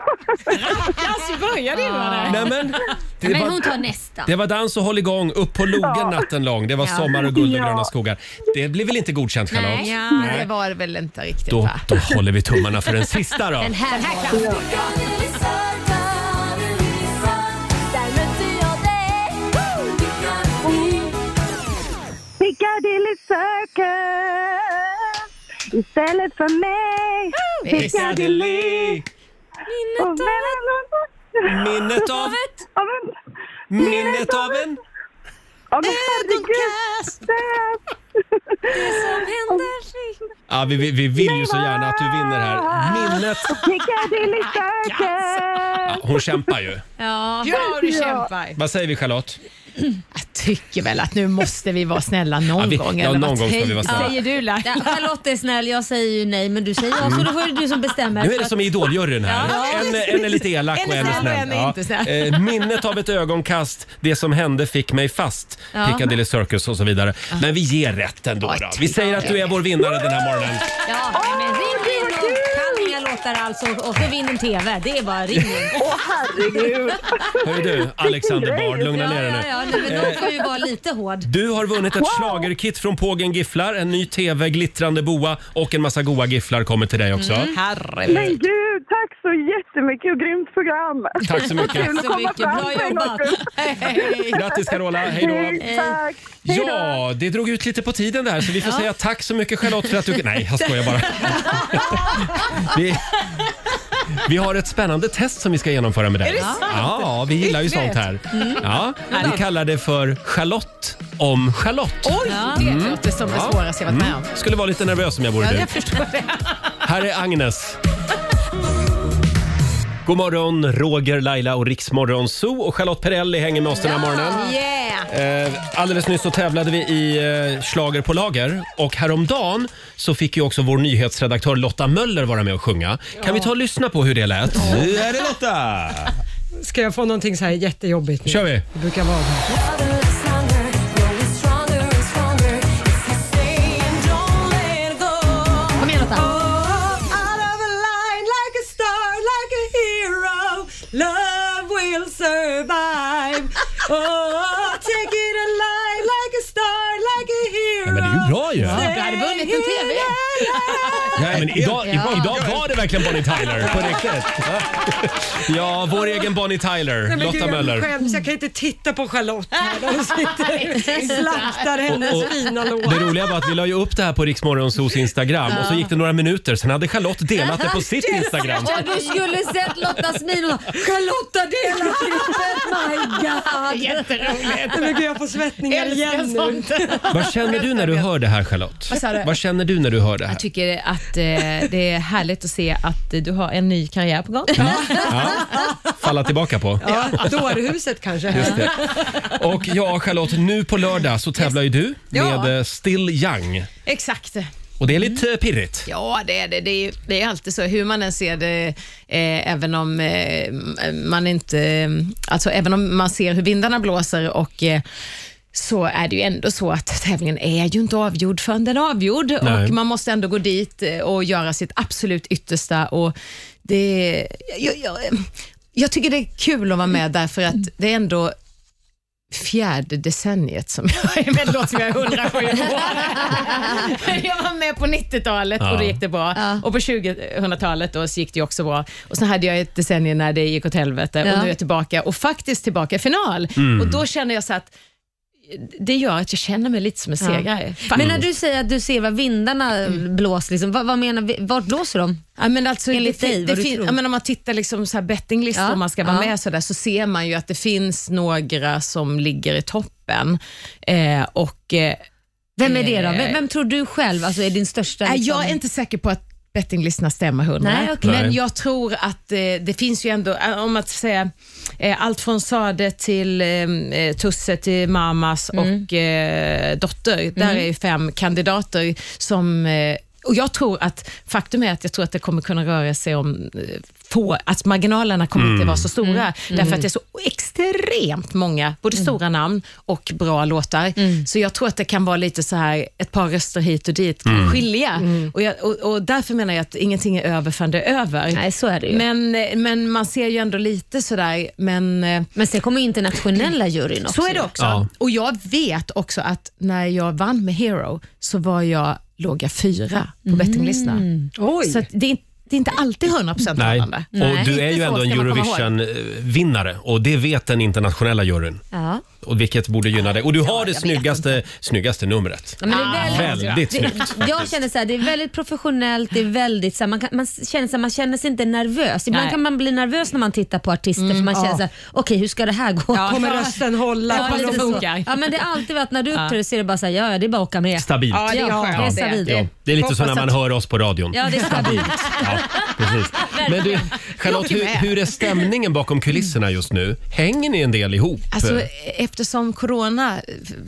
Alltså, började ju med Nej, men, det Men var- hon tar nästa. Det var dans och håll igång upp på logen Ja. natten lång. Det var Ja. sommar och guld och Ja. gröna skogar. Det blir väl inte godkänt Charlotte? ja, det var det väl inte riktigt Då, va? då håller vi tummarna för den sista då. Den här, Den här var kan- det. Piccadilly Circus istället för mig. Piccadilly. Och mellan- Minnet av ett. Av en... Minnet av en... Ja, men herregud. Det som händer sig. Ja, vi, vi, vi vill ju så gärna att du vinner här. Minnet. Piccadilly Circus. Hon kämpar ju. Ja, ja du kämpar. Vad säger vi Charlotte? Jag tycker väl att nu måste vi vara snälla någon Ja, vi- gång. ja, eller vad någon gång ska vi vara snälla. Säger du Laila? Ja, Charlotte är snäll, jag säger ju nej men du säger ja, så Mm. då är det du som bestämmer. Nu är det som i Idoljuryn här. Ja. En, är- en är lite elak En är och en är snäll och en snäll. är inte snäll. Eh, Minnet av ett ögonkast, det som hände fick mig fast. Ja. Piccadilly Circus och så vidare. Men vi ger rätt ändå. Då. Vi säger att du är vår vinnare den här morgonen. Ja, nej, men ring in och kan inga låtar alls och, och så vinn en TV. Det är bara ring in. Åh herregud. Hör du, Alexander Bard, lugna ner dig Ja, nu. ja, nej, men Eh, de får ju vara lite hård. Du har vunnit ett schlagerkit från Pågen Gifflar, en ny TV, glittrande boa och en massa goa gifflar kommer till dig också. Mm. Men gud, tack så jättemycket och grymt program. Tack så mycket. Vad kul att Tack så komma mycket. fram Bra till jobbat. något. Hej. Grattis, Carola. Hej då. Hej, Tack. Hej då. Ja, det drog ut lite på tiden där så vi får Ja. säga tack så mycket Charlotte för att du... Nej, jag skojar bara. Vi, vi har ett spännande test som vi ska genomföra med dig. Är det sant? Ja, vi gillar ju sånt här. Mm. Ja, vi Härligt. kallar det för Charlotte om Charlotte. Oj, det låter som det svåraste jag varit med om. Skulle vara lite nervös om jag Mm. vore Ja, du. jag förstår det. Här är Agnes. God morgon, Roger, Laila och Riksmorgon Zoo och Charlotte Perrelli hänger med oss den här morgonen. Yeah! Eh, Alldeles nyss så tävlade vi i eh, Schlager på lager och häromdagen så fick ju också vår nyhetsredaktör Lotta Möller vara med och sjunga. Kan vi ta och lyssna på hur det lät? Nu är det Lotta! Ska jag få någonting så här jättejobbigt nu? kör vi! Det brukar vara det. Kom igen Lotta. Love will survive. Oh, take it alive like a star, like a hero. men det är ju bra ju. Ja, du hade vunnit en TV. Nej, men idag, Ja. idag, idag var det verkligen Bonnie Tyler, på riktigt. Ja, vår egen Bonnie Tyler, Nej, men Lotta gud, Jag, Möller. skäms, jag kan inte titta på Charlotte här. De sitter och slaktar hennes Och- och fina låt. Det roliga var att vi la ju upp det här på Riksmorgonsos Instagram och så gick det några minuter, sen hade Charlotte delat det på sitt Instagram. Ja, du skulle sett Lottas min och Charlotta delar klippet, my god! Jätteroligt. Nej, men gud, jag får svettningar igen nu. Vad känner du när du hör det här Charlotte? Vad sa du? Vad känner du när du hör det här? Jag tycker att eh, det är härligt att se att eh, du har en ny karriär på gång. Falla tillbaka på. Ja, dårhuset kanske. Just det. Och ja, Charlotte, nu på lördag så tävlar ju du Ja. med eh, Still Young. Exakt. Och det är lite Mm. eh, pirrigt. Ja, det är det. Det är, det är alltid så, hur man än ser det, eh, även om eh, man inte... Alltså, även om man ser hur vindarna blåser och eh, så är det ju ändå så att tävlingen är ju inte avgjord förrän den är avgjord Nej. och man måste ändå gå dit eh, och göra sitt absolut yttersta och det... Jag, jag, Jag tycker det är kul att vara med därför att det är ändå fjärde decenniet som jag är med. Det låter som jag är 107 år. Jag var med på 90-talet och då Ja. gick det bra. Och på 2000-talet då så gick det ju också bra. Och sen hade jag ett decennium när det gick åt helvete Ja. och nu är jag tillbaka och faktiskt tillbaka i final. Mm. Och då känner jag så att det gör att jag känner mig lite som en segrare. Mm. Ja. Men när du säger att du ser vad vindarna blåser, liksom, vad, vad menar vi, vart blåser de? Ja, men alltså, Enligt det, fin- dig, det vad du fin- tror? ja, men om man tittar liksom så här bettinglistor Ja, om man ska vara ja. med så, där, så ser man ju att det finns några som ligger i toppen. Eh, och, eh, Vem är det då? eh, Vem, vem tror du själv alltså, är din största... Nej, liksom- Jag är inte säker på att bettinglistorna stämmer hundra. Nej, okej. Men Nej. jag tror att eh, det finns ju ändå, eh, om att säga, eh, allt från Sade till eh, eh, Tusse till Mamas och eh, Dotter. Där Mm. är ju fem kandidater som eh, och jag tror att, faktum är att jag tror att det kommer kunna röra sig om eh, få, att marginalerna kommer Mm. inte vara så stora, Mm. därför att det är så extremt många, både stora namn och bra låtar. Mm. Så jag tror att det kan vara lite så här, ett par röster hit och dit kan Mm. skilja. Och, jag, och, och därför menar jag att ingenting är över förrän det är över. Nej, så är det ju. Men, eh, men man ser ju ändå lite sådär, men... eh, Men sen kommer internationella juryn också. Så är det också. Ja. Och jag vet också att när jag vann med Hero så var jag, låg jag fyra på Mm. bettinglistorna. Så att det, är, det är inte alltid 100% Nej. vinnande. Och du är ju Lite så ändå en ska man komma ihåg. Eurovision-vinnare och det vet den internationella juryn. Ja. Och vilket borde gynna dig. Och du har det snyggaste, snyggaste numret. Ja, men det är väldigt, Väldigt det, snyggt Jag faktiskt. känner så här, det är väldigt professionellt, det är väldigt så här, man, kan, man känner så här, man känner sig inte nervös. Ibland Nej. kan man bli nervös när man tittar på artister för man ja. känner så här, okej hur ska det här gå? Ja. Kommer rösten hålla? Ja, Kommer lite de så. funka? ja men det är alltid att när du Ja. uppträder så är det bara så här, ja ja det är bara att åka med. Stabilt. Ja det är, ja, det är stabilt. Ja, det är lite så när man hör oss på radion. Ja, det är stabilt. Ja, precis. Men du, Charlotte, hur, hur är stämningen bakom kulisserna just nu? Hänger ni en del ihop? Alltså, eftersom corona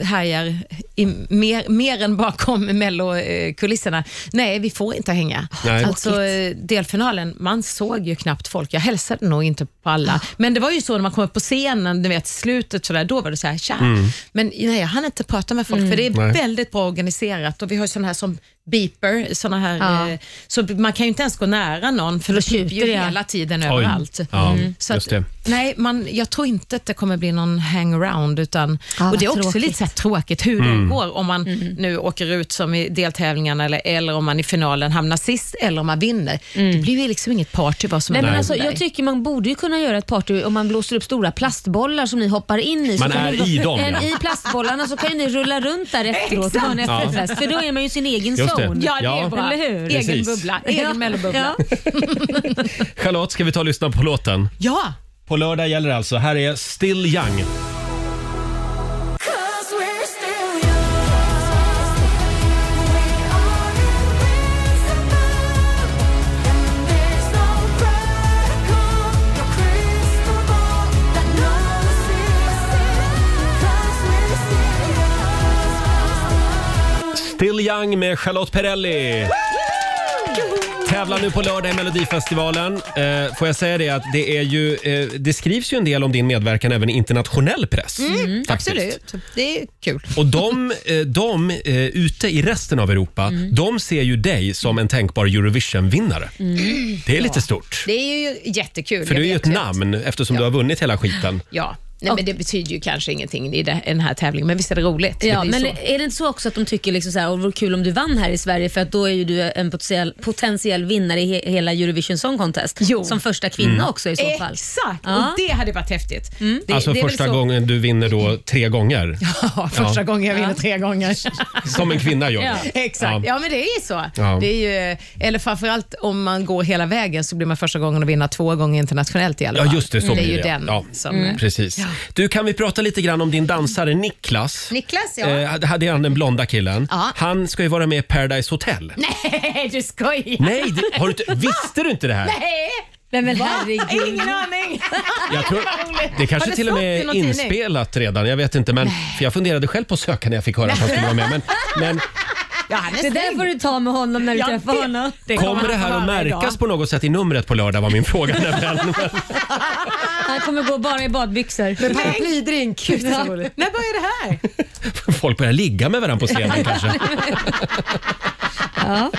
härjar i, mer, mer än bakom mellokulisserna. Nej, vi får inte hänga. Nej. Alltså, eh, delfinalen, man såg ju knappt folk. Jag hälsade nog inte på alla. Men det var ju så när man kom upp på scenen, du vet slutet, sådär, då var det så här, tja. Mm. Men nej, jag hann inte prata med folk, Mm. för det är Nej. väldigt bra organiserat och vi har ju sådana här som beeper, såna här, Ja. eh, så man kan ju inte ens gå nära någon, för det piper ju hela tiden Oj. överallt. Mm. Ja, Så just att, det. Nej, man, jag tror inte att det kommer bli någon hangaround. Utan, Ja, och det är vad också tråkigt. lite så här tråkigt hur Mm. det går om man nu åker ut som i deltävlingarna eller, eller om man i finalen hamnar sist eller om man vinner. Det blir ju liksom inget party vad som Mm. Nej, men händer. alltså, jag tycker man borde ju kunna göra ett party om man blåser upp stora plastbollar som ni hoppar in i. Så Man kan är ni, i dem, en, ja. I plastbollarna så kan ju ni rulla runt där efteråt och ha en Exakt. efterfest. Ja. För då är man ju i sin egen Just det. zon. Ja, det är Ja. bra. Eller hur? Egen Precis. bubbla, egen ja. mellobubbla. Charlotte, ska vi ta och lyssna på låten? Ja! På lördag gäller det alltså. Här är Still Young. Still Young med Charlotte Perrelli. Tävlar nu på lördag i Melodifestivalen. Eh, får jag säga det att det är ju, eh, det skrivs ju en del om din medverkan även i internationell press. Mm, faktiskt. absolut, det är kul. Och de, eh, de eh, ute i resten av Europa, Mm. de ser ju dig som en tänkbar Eurovision-vinnare. Mm. Det är lite stort. Det är ju jättekul. För Mm, jag du är ju vet ett namn eftersom du har vunnit hela skiten. Ja, nej, men det betyder ju kanske ingenting i det- i den här tävlingen, men visst är det roligt? Ja, det men är ju så. är det inte så också att de tycker liksom så här, "Åh, det vore kul om du vann här i Sverige för att då är ju du en potentiell, potentiell vinnare i he- hela Eurovision Song Contest. Som första kvinna Mm. också i så fall. Exakt, Ja. Mm. och det hade varit häftigt. Det, alltså det är väl första så- Mm. gången du vinner då tre gånger. Ja, första Ja. gången jag vinner tre gånger. Som en kvinna gör. Ja, exakt. Ja. men det är ju så. Ja. Det är ju, eller framförallt om man går hela vägen så blir man första gången att vinna två gånger internationellt i alla fall. Ja, just det. Så det är blir ju det. den ja. som... Mm. Precis. Du, kan vi prata lite grann om din dansare Niklas? Niklas, ja. Eh, hade- hade han den blonda killen? Ja. Han ska ju vara med i Paradise Hotel. Nej, du skojar! Nej, det, har du, inte- visste du inte det här? Nej! Nej, men Va? herregud. Ingen aning. Jag tror, Vad roligt. det Har kanske till och stått med i är någon tidning? inspelat redan. Jag vet inte, men för jag funderade själv på att söka när jag fick höra att han skulle vara med. Men, men Ja, han är det där får du ta med honom när du Ja, träffar det- honom. kommer det här att märkas på något sätt i numret på lördag var min fråga. nämligen. Han kommer gå bara i badbyxor. Med paraplydrink. Ja. När börjar det här? Folk börjar ligga med varandra på scenen kanske. Ja.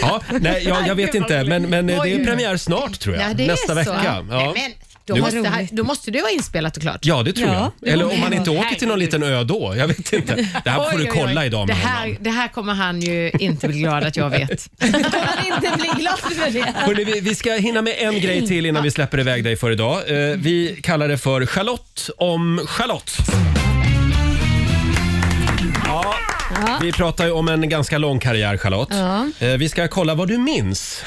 Ja, nej, jag, jag vet inte, men, men det är Oj. premiär snart tror jag. Ja, det är Nästa så. vecka. Ja. Nej, men Då, Nu- måste, det- då måste det vara inspelat och klart. Ja, det tror jag. Eller om man inte åker Herregud. till någon liten ö då. Jag vet inte. Det här får Oj, oj, du oj. kolla det idag med honom. här, det här kommer han ju inte bli glad att jag vet. Han kommer inte bli glad för det. Hörrni, vi, vi ska hinna med en grej till innan vi släpper iväg dig för idag. Eh, vi kallar det för Charlotte om Charlotte. Ja, vi pratar ju om en ganska lång karriär, Charlotte. Ja. Eh, vi ska kolla vad du minns.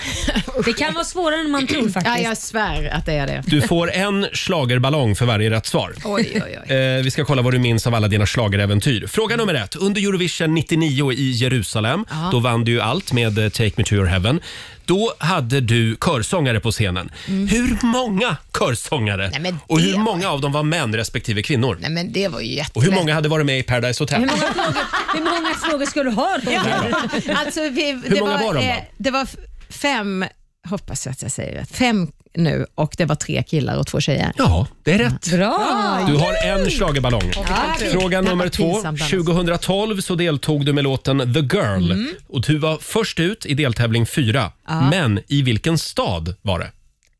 Det kan vara svårare än man tror faktiskt. Ja, jag svär att det är det. Du får en schlagerballong för varje rätt svar. Eh, vi ska kolla vad du minns av alla dina schlageräventyr. Fråga nummer ett. Under Eurovision 99 i Jerusalem, Ja. då vann du ju allt med eh, Take Me To Your Heaven. Då hade du körsångare på scenen. Hur många körsångare Mm. men och hur det många av dem var män respektive kvinnor? Nej, men det var ju jättelätt. Och hur många hade varit med i Paradise Hotel? Hur många frågor, hur många frågor ska du ha då? Alltså, vi, Hur många var de då? det var f- fem, hoppas jag att jag säger rätt, fem nu och det var tre killar och två tjejer. Ja, det är rätt. Bra! Du har en schlagerballong. Åh, vilken tur. Fråga Det här nummer var två. pinsamt annars. 2012 så deltog du med låten The Girl. Mm. Och du var först ut i deltävling fyra. Ja. Men i vilken stad var det?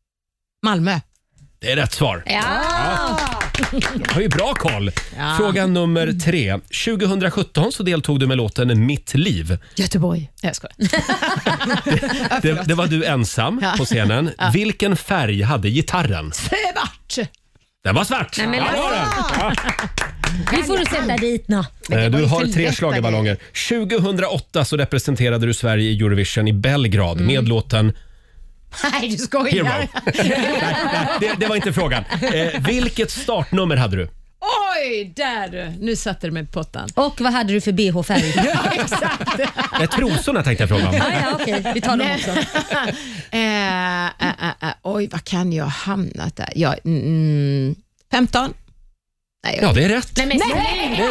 Malmö. Det är rätt svar. Ja. Du har ju bra koll. Ja. Fråga nummer tre. 2017 så deltog du med låten Mitt liv. Göteborg. Nej, Jag skojar. Det, det var du ensam Ja. på scenen. Ja. Vilken färg hade gitarren? Svart! Den var svart! Nej, men Ja, det var den. Nu får du sätta dit nå. Eh, Du har tre schlagerballonger. 2008 så representerade du Sverige i Eurovision i Belgrad med låten Nej, du skojar. Hero. det, det var inte frågan. Eh, vilket startnummer hade du? Oj, där du. Nu satte du mig på pottan. Och vad hade du för bh-färg? ja, exakt. Eh, trosorna tänkte jag fråga om. Ah, Ja, ja, okej. Vi tar dem Nej. också. eh, eh, eh, eh, oj, vad kan jag ha hamnat där? Ja, mm, 15? Nej, jag- Ja, det är rätt. Nej, men, nej,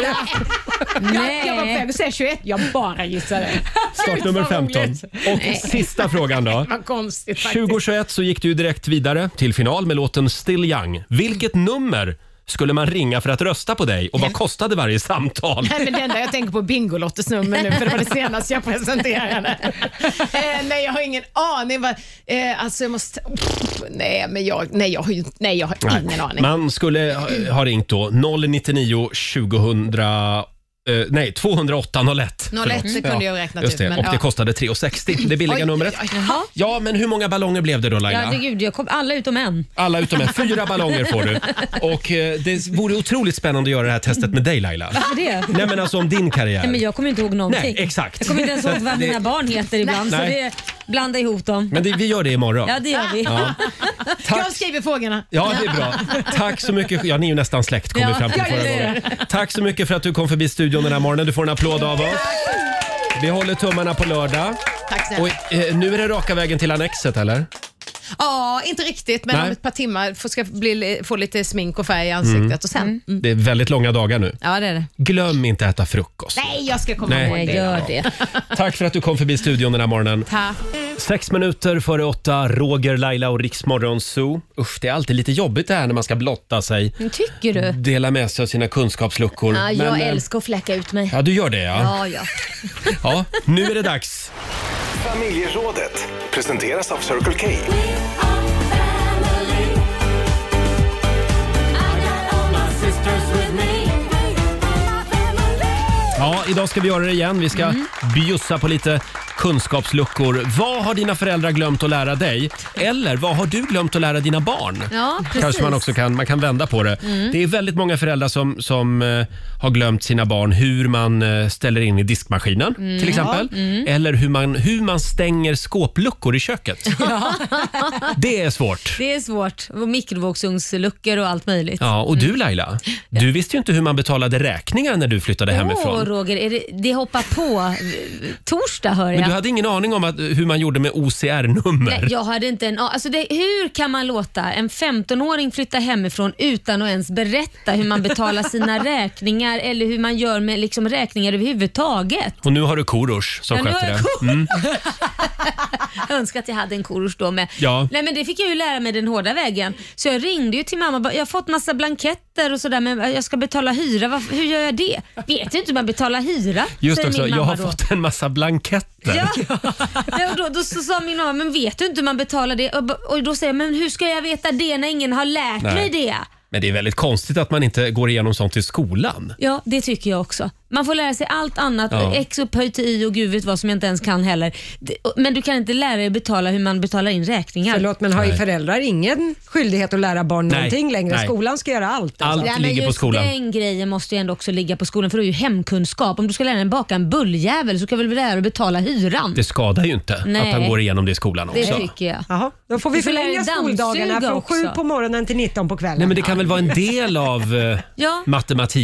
Jag, Nej. jag var på väg att säga 21, jag bara gissade. Startnummer Gud, vad 15. roligt. Nej. Och sista frågan då. Vad konstigt faktiskt. 2021 så gick du direkt vidare till final med låten Still Young. Vilket nummer skulle man ringa för att rösta på dig och vad kostade varje samtal? Nej, men det enda jag tänker på är Bingolottos nummer nu, för det var det senaste jag presenterade. eh, nej, jag har ingen aning. Vad, eh, alltså, jag måste... nej, men jag, nej, jag har, ju- nej, jag har Nej. ingen aning. Man skulle ha- ha ringt då 099 2000 eh, nej, 208 01. 01, Förlåt. det kunde jag räknat just det. ut, men och det ja. kostade 3,60. Det billiga Oj, numret. oj, oj. Jaha. Ja, men hur många ballonger blev det då Ja, Laila? det, gud, jag kom alla utom en. Alla utom en. Fyra ballonger får du. Och eh, det vore otroligt spännande att göra det här testet med dig Laila. Varför det? Nej men alltså om din karriär. Nej, men jag kommer inte ihåg någonting. Nej, exakt. Jag kommer inte ens ihåg vad Det- mina barn heter ibland, så Nej. det, blanda ihop dem. Men det, vi gör det imorgon. Ja, det gör vi. Ja. Jag skriver frågorna. Ja, det är bra. Tack så mycket. Ja, ni är ju nästan släkt kom vi Ja. fram till Ja, förra det är gången. Tack så mycket för att du kom förbi studion den här morgonen. Du får en applåd av oss. Vi håller tummarna på lördag. Tack snälla. Och, eh, nu är det raka vägen till Annexet, eller? Ja, inte riktigt, men Nej. om ett par timmar får, ska bli, få lite smink och färg i ansiktet Mm. och sen... Det är väldigt långa dagar nu. Ja, det är det. Glöm inte att äta frukost. Nej, jag ska komma Nej. ihåg det. Nej, gör det. Tack för att du kom förbi studion den här morgonen. Tack. Sex minuter före åtta, Roger, Laila och Riksmorgon Zoo. Usch, det är alltid lite jobbigt det här när man ska blotta sig. Tycker du? Dela med sig av sina kunskapsluckor. Ja, jag eh, älskar att fläcka ut mig. Ja, du gör det Ja, ja. ja. Ja, nu är det dags. Familjerådet presenteras av Circle K. Ja, idag ska vi göra det igen. Vi ska Mhm. bjussa på lite kunskapsluckor. Vad har dina föräldrar glömt att lära dig? Eller vad har du glömt att lära dina barn? Ja, precis. Kanske man också kan, man kan vända på det. Mm. Det är väldigt många föräldrar som, som eh, har glömt sina barn hur man eh, ställer in i diskmaskinen Mm. till exempel. Ja, mm. Eller hur man, hur man stänger skåpluckor i köket. Det är svårt. Det är svårt. Och Mikrovågsugnsluckor och allt möjligt. Mm. Ja, och du Laila, du visste ju inte hur man betalade räkningar när du flyttade Åh, hemifrån. Roger, är det, det hoppar på torsdag hör jag. Men du hade ingen aning om att, hur man gjorde med Nej, OCR-nummer. jag hade inte en alltså det, Hur kan man låta en 15-åring flytta hemifrån utan att ens berätta hur man betalar sina räkningar eller hur man gör med liksom räkningar överhuvudtaget? Och nu har du Korosh som Ja, nu sköter har jag det. Mm. Jag önskar att jag hade en korosh då med. Ja. Nej, men det fick jag ju lära mig den hårda vägen. Så jag ringde ju till mamma och bara, jag har fått massa blanketter och sådär men jag ska betala hyra. Varför, hur gör jag det? Vet ju inte hur man betalar hyra, Just säger också, min jag mamma har då. fått en massa blanketter. Ja, och då, då så sa min mamma, men vet du inte hur man betalar det? Och, ba- och då säger jag, men hur ska jag veta det när ingen har lärt Nej. mig det? Men det är väldigt konstigt att man inte går igenom sånt i skolan. Ja, det tycker jag också. Man får lära sig allt annat, Ja. x upphöjt till y och gud vet vad som jag inte ens kan heller. Det- och- Men du kan inte lära dig betala hur man betalar in räkningar. Förlåt, men har ju Nej. föräldrar ingen skyldighet att lära barn Nej, någonting längre? nej. Skolan ska göra allt. alltså. Allt Ja, men ligger på just skolan. Den grejen måste ju ändå också ligga på skolan för det är ju hemkunskap. Om du ska lära dig baka en bulljävel så kan väl lära dig att betala hyran? Det skadar ju inte Nej. att han går igenom det i skolan också. Det tycker jag. Jaha, då får vi Du får lära förlänga dig skoldagarna dammsuga från 7 också. på morgonen till 19 på kvällen. Nej, men det kan väl vara en del av eh, Ja.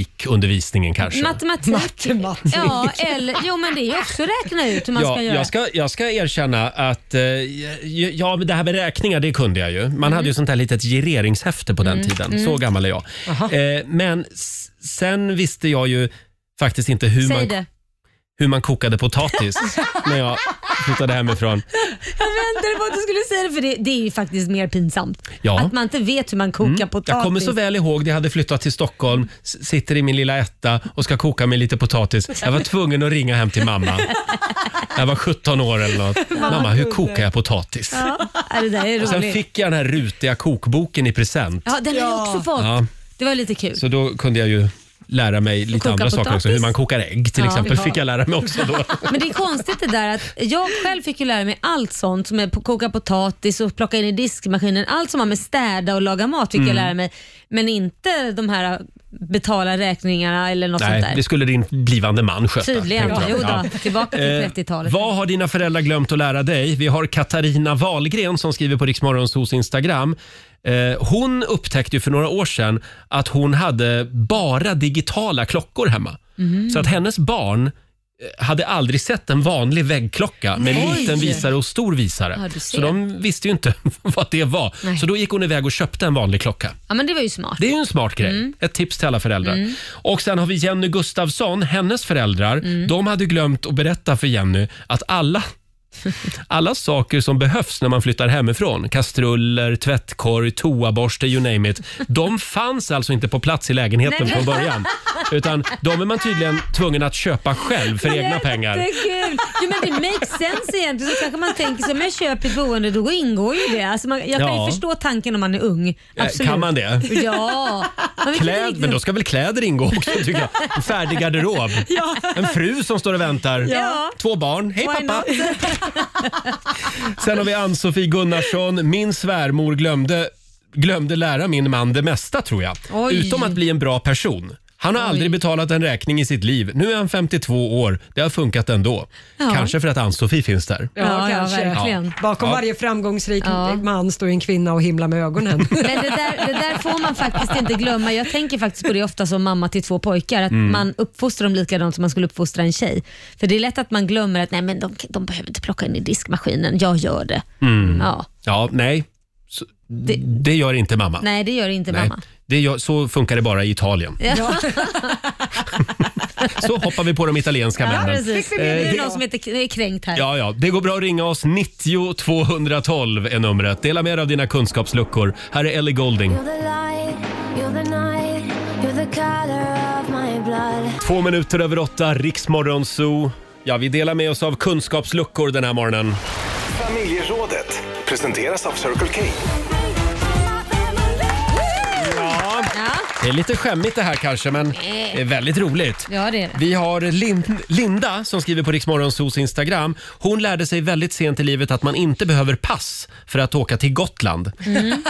matematikundervisningen kanske? Matematik. Matematik. Ja, eller, jo men det är ju också räkna ut hur man ja, ska göra. Jag ska, jag ska erkänna att eh, ja, ja, men det här med räkningar, det kunde jag ju. Man Mm. hade ju sånt här litet gireringshäfte på den Mm, tiden. mm. Så gammal är jag. Eh, men s- sen visste jag ju faktiskt inte hur, Säg man, det. hur man kokade potatis när jag flyttade hemifrån. Jag väntade på att du skulle säga det för det, det är ju faktiskt mer pinsamt. Ja. Mm. Att man inte vet hur man kokar potatis. Jag kommer så väl ihåg det. Jag hade flyttat till Stockholm, s- sitter i min lilla etta och ska koka mig lite potatis. Jag var tvungen att ringa hem till mamma. Jag var 17 år eller något. Vad Mamma, hur kul. kokar jag potatis? Ja, äh, det där är Och sen roligt. fick jag den här rutiga kokboken i present. Ja, den har jag också fått. Ja, Det var lite kul. så då kunde jag ju lära mig lite koka andra saker potatis. också. Hur man kokar ägg till Ja. exempel Ja. fick jag lära mig också då. Men det är konstigt det där att jag själv fick ju lära mig allt sånt som är på- koka potatis och plocka in i diskmaskinen. Allt som har med städa och laga mat fick Mm. jag lära mig. Men inte de här betala räkningarna eller något sånt Nej, där. det skulle din blivande man sköta. Tydligen. tänkte jag. Jo Ja. då, tillbaka till Eh, 30-talet. Vad har dina föräldrar glömt att lära dig? Vi har Katarina Wahlgren som skriver på Riksmorgonsos Instagram. Eh, Hon upptäckte ju för några år sedan att hon hade bara digitala klockor hemma. Mhm. Så att hennes barn eh, hade aldrig sett en vanlig väggklocka med Nej. liten visare och stor Ja, visare. du ser. Så de visste ju inte vad det var. Nej. Så då gick hon iväg och köpte en vanlig klocka. Ja men det var ju smart. Det är ju en smart grej. Mm. Ett tips till alla föräldrar. Mm. Och sen har vi Jenny Gustafsson, hennes föräldrar. Mm. De hade glömt att berätta för Jenny att alla alla saker som behövs när man flyttar hemifrån, kastruller, tvättkorg, toaborste, you name it. De fanns alltså inte på plats i lägenheten Nej, från men- början. Utan de är man tydligen tvungen att köpa själv för egna Det pengar. är kul. Jo, men det makes sense egentligen. Så kanske man tänker så, om jag köper ett boende då ingår ju det. Alltså man, jag kan Ja. ju förstå tanken om man är ung. Eh, Absolut. kan man det? Ja. Man vet inte Kläd, riktigt- men då ska väl kläder ingå också tycker jag. En färdig garderob. Ja. En fru som står och väntar. Ja. Två barn. Hej Why pappa! not? Sen har vi Ann-Sofie Gunnarsson. Min svärmor glömde, glömde lära min man det mesta tror jag. Oj. Utom att bli en bra person. Han har aldrig betalat en räkning i sitt liv. Nu är han 52 år. Det har funkat ändå. Ja. Kanske för att Ann-Sofie finns där. Ja, kanske. Ja. Bakom Ja. varje framgångsrik man står ju en kvinna och himlar med ögonen. Men det där, det där får man faktiskt inte glömma. Jag tänker faktiskt på det ofta som mamma till två pojkar, att Mm. man uppfostrar dem likadant som man skulle uppfostra en tjej. För det är lätt att man glömmer att nej, men de, de behöver inte plocka in i diskmaskinen, jag gör det. Mm. Ja. Ja, nej. Så, det, gör inte mamma. Nej, det gör inte Nej. mamma. Det gör, så funkar det bara i Italien. Ja. Så hoppar vi på de italienska Ja, männen. precis. Eh, Nu är det- det någon som heter, är kränkt här. Ja, ja. Det går bra att ringa oss. 90 212 är numret. Dela med dig av dina kunskapsluckor. Här är Ellie Golding. Två minuter över åtta, Riksmorgon Zoo. Ja, vi delar med oss av kunskapsluckor den här morgonen. Familjerådet presenteras av Circle K. Ja. Det är lite skämmigt det här kanske, men det är väldigt roligt. Eh. Ja, det är det. Vi har Lin- Linda som skriver på Riksmorgonsos Instagram. Hon lärde sig väldigt sent i livet att man inte behöver pass för att åka till Gotland. Mm.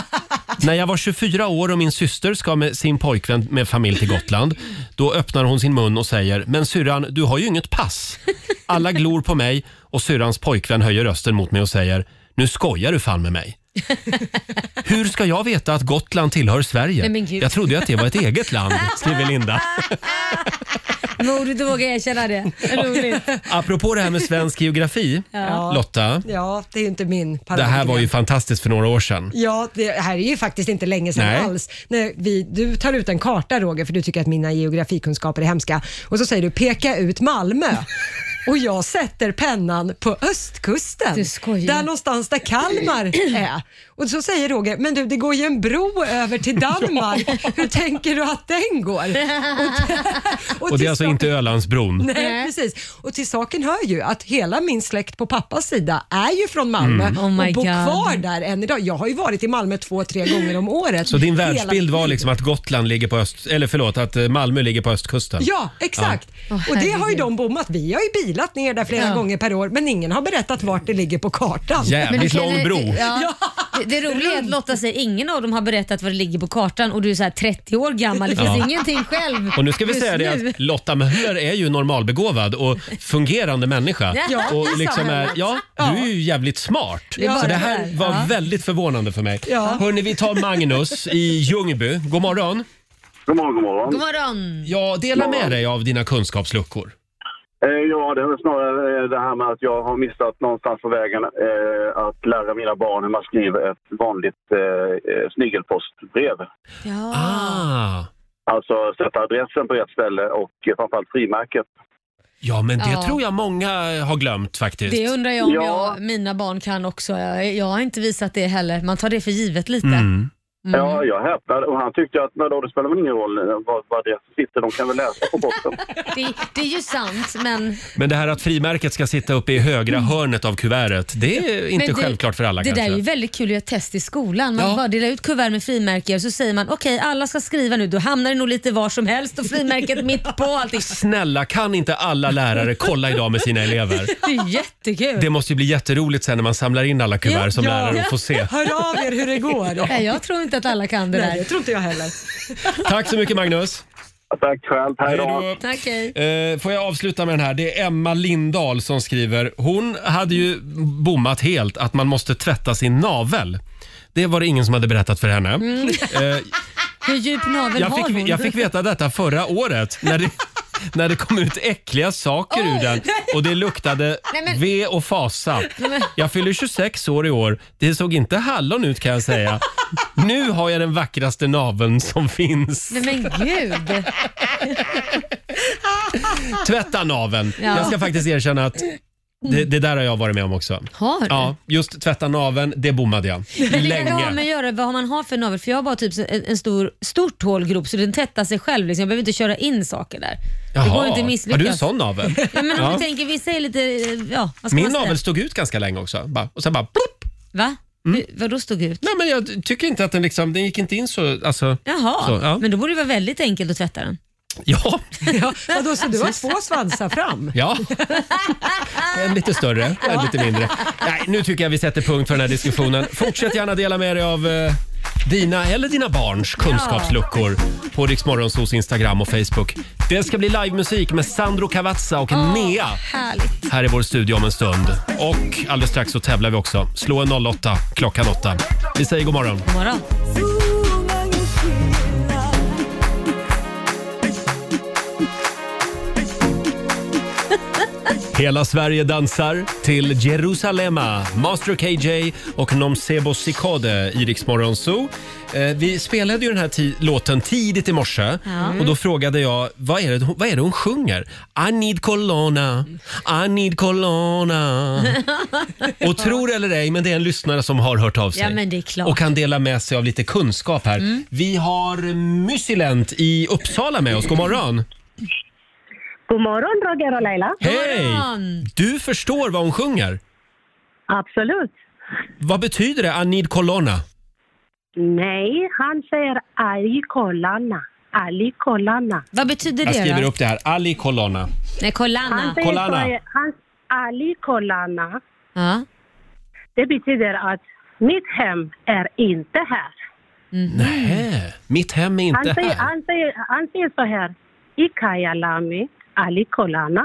När jag var 24 år och min syster ska med sin pojkvän med familj till Gotland, då öppnar hon sin mun och säger “Men syrran, du har ju inget pass”. Alla glor på mig och syrrans pojkvän höjer rösten mot mig och säger “Nu skojar du fan med mig”. Hur ska jag veta att Gotland tillhör Sverige? Nej, men Gud. jag trodde ju att det var ett eget land, skriver Linda. Modigt att våga erkänna det. Roligt. Apropå det här med svensk geografi, Ja. Lotta. Ja, det är ju inte min Det paradgren. här var ju fantastiskt för några år sedan. Ja, det här är ju faktiskt inte länge sedan Nej. alls. När vi, du tar ut en karta Roger, för du tycker att mina geografikunskaper är hemska. Och så säger du peka ut Malmö. och jag sätter pennan på östkusten. Där någonstans där Kalmar är. Och så säger Roger, men du det går ju en bro över till Danmark. Hur tänker du att den går? Och, Och det är alltså inte Ölandsbron? Nej, precis. Och till saken hör ju att hela min släkt på pappas sida är ju från Malmö Mm. Oh my och bor God. kvar där än idag. Jag har ju varit i Malmö två, tre gånger om året. Så din Hela världsbild var liksom att Gotland ligger på öst... Eller förlåt, att eh, Malmö ligger på östkusten? Ja, exakt. Ja. och det har ju de bommat. Vi har ju bilat ner där flera Ja. gånger per år, men ingen har berättat vart det ligger på kartan. Jävligt Men det lång känner- bro. Ja. Det, det roliga är att Lotta säger ingen av dem har berättat vad det ligger på kartan och du är så här 30 år gammal. Det finns Ja. ingenting själv. Och nu ska vi just säga det nu. att Lotta Möller är ju normalbegåvad och fungerande människa. Ja, och i liksom är, samhället. ja, du är ju jävligt smart. Det är Så bara det det här där. var Ja. väldigt förvånande för mig. Ja. Hörni, vi tar Magnus i Ljungby. God morgon. God morgon, god morgon. God morgon. Ja, dela med dig av dina kunskapsluckor. Eh, Ja, det är väl snarare eh, det här med att jag har missat någonstans på vägen eh, att lära mina barn hur man skriver ett vanligt eh, eh, snigelpostbrev. Ah. Alltså sätta adressen på rätt ställe och eh, framförallt frimärket. Ja, men det Ja. tror jag många har glömt faktiskt. Det undrar jag om Ja. jag, mina barn kan också. Jag, jag har inte visat det heller. Man tar det för givet lite. Mm. Mm. Ja, jag häpnade och han tyckte att men då, det spelar väl ingen roll eh, var, var adressen sitter, de kan väl läsa på botten. Det, det är ju sant, men... Men det här att frimärket ska sitta uppe i högra hörnet av kuvertet, det är inte Mm. Men det- självklart för alla Det kanske. där är ju väldigt kul att göra test i skolan. Man bara delar ut kuvert med frimärken och så säger man okej, alla ska skriva nu. Då hamnar det nog lite var som helst och frimärket mitt på allting. Snälla, kan inte alla lärare kolla idag med sina elever? Det är jättekul. Det måste ju bli jätteroligt sen när man samlar in alla kuvert som Ja. lärare och får se. Hör av er hur det går. Nej, jag tror inte att alla kan det Nej, där. det tror inte jag heller. Tack så mycket Magnus. Tack själv. Hej då. Tack, hej. Eh, får jag avsluta med den här? Det är Emma Lindahl som skriver. Hon hade ju bommat helt att man måste tvätta sin navel. Det var det ingen som hade berättat för henne. Mm. Eh, Hur djup navel jag, har hon? fick, jag fick veta detta förra året när det, när det kom ut äckliga saker ur den och det luktade Nej, men- ve och fasa. Nej, men- Jag fyller 26 år i år. Det såg inte hallon ut kan jag säga. Nu har jag den vackraste naveln som finns. Nej men gud. Tvätta naveln. Ja. Jag ska faktiskt erkänna att det, det där har jag varit med om också. Har du? Ja, just tvätta naveln, det bommade jag. Men det kan ha med Länge. att göra vad man har för navel. För jag har bara typ en, en stor, stort hålgrop så den tättar sig själv. Liksom. Jag behöver inte köra in saker där. Det går Jaha. inte att Har misslyckas. du en sån navel? Ja, men om Ja. vi tänker, vi säger lite, eh, ja, vad ska Min man säga? navel stod ut ganska länge också. Bara, och sen bara Mm. Va? Vad då stod ut? Nej, men jag tycker inte att den liksom, den gick inte in så, alltså. Jaha, Så, ja. men då borde det vara väldigt enkelt att tvätta den. Ja, Ja, vadå, så du har två svansar fram? ja. En lite större, en lite mindre. Nej, nu tycker jag vi sätter punkt för den här diskussionen. Fortsätt gärna dela med dig av eh, dina eller dina barns kunskapsluckor på Riksmorgonsos Instagram och Facebook. Det ska bli livemusik med Sandro Cavazza och Nea Härligt. här i vår studio om en stund. Och alldeles strax så tävlar vi också. Slå en 08 klockan 8. Vi säger god morgon. God morgon. Hela Sverige dansar till Jerusalema, Master KJ och Nomsebo Sikode i Rix Morgon Zoo. Eh, Vi spelade ju den här ti- låten tidigt i morse Ja. och då frågade jag vad är, det, hon- vad är det hon sjunger? I need Colonna, I need Colonna. Och tror eller ej, men det är en lyssnare som har hört av sig Ja, men det är klart. och kan dela med sig av lite kunskap här. Vi har Mysilent i Uppsala med oss. God morgon! God morgon, Roger och Laila. Hej! Du förstår vad hon sjunger? Absolut. Vad betyder det, Anid Colonna? Nej, han säger Ali Kolana. Ali Kolana. Vad betyder Jag skriver upp det här. Ali Colonna. Nej, Colana. Han säger Kolana. så- Han, Ali Kolana. Ja. Det betyder att mitt hem är inte här. Nähä, Äh, mitt hem är han, inte säger, här. han, säger, han säger så här. Ikayalami Ali Kolana.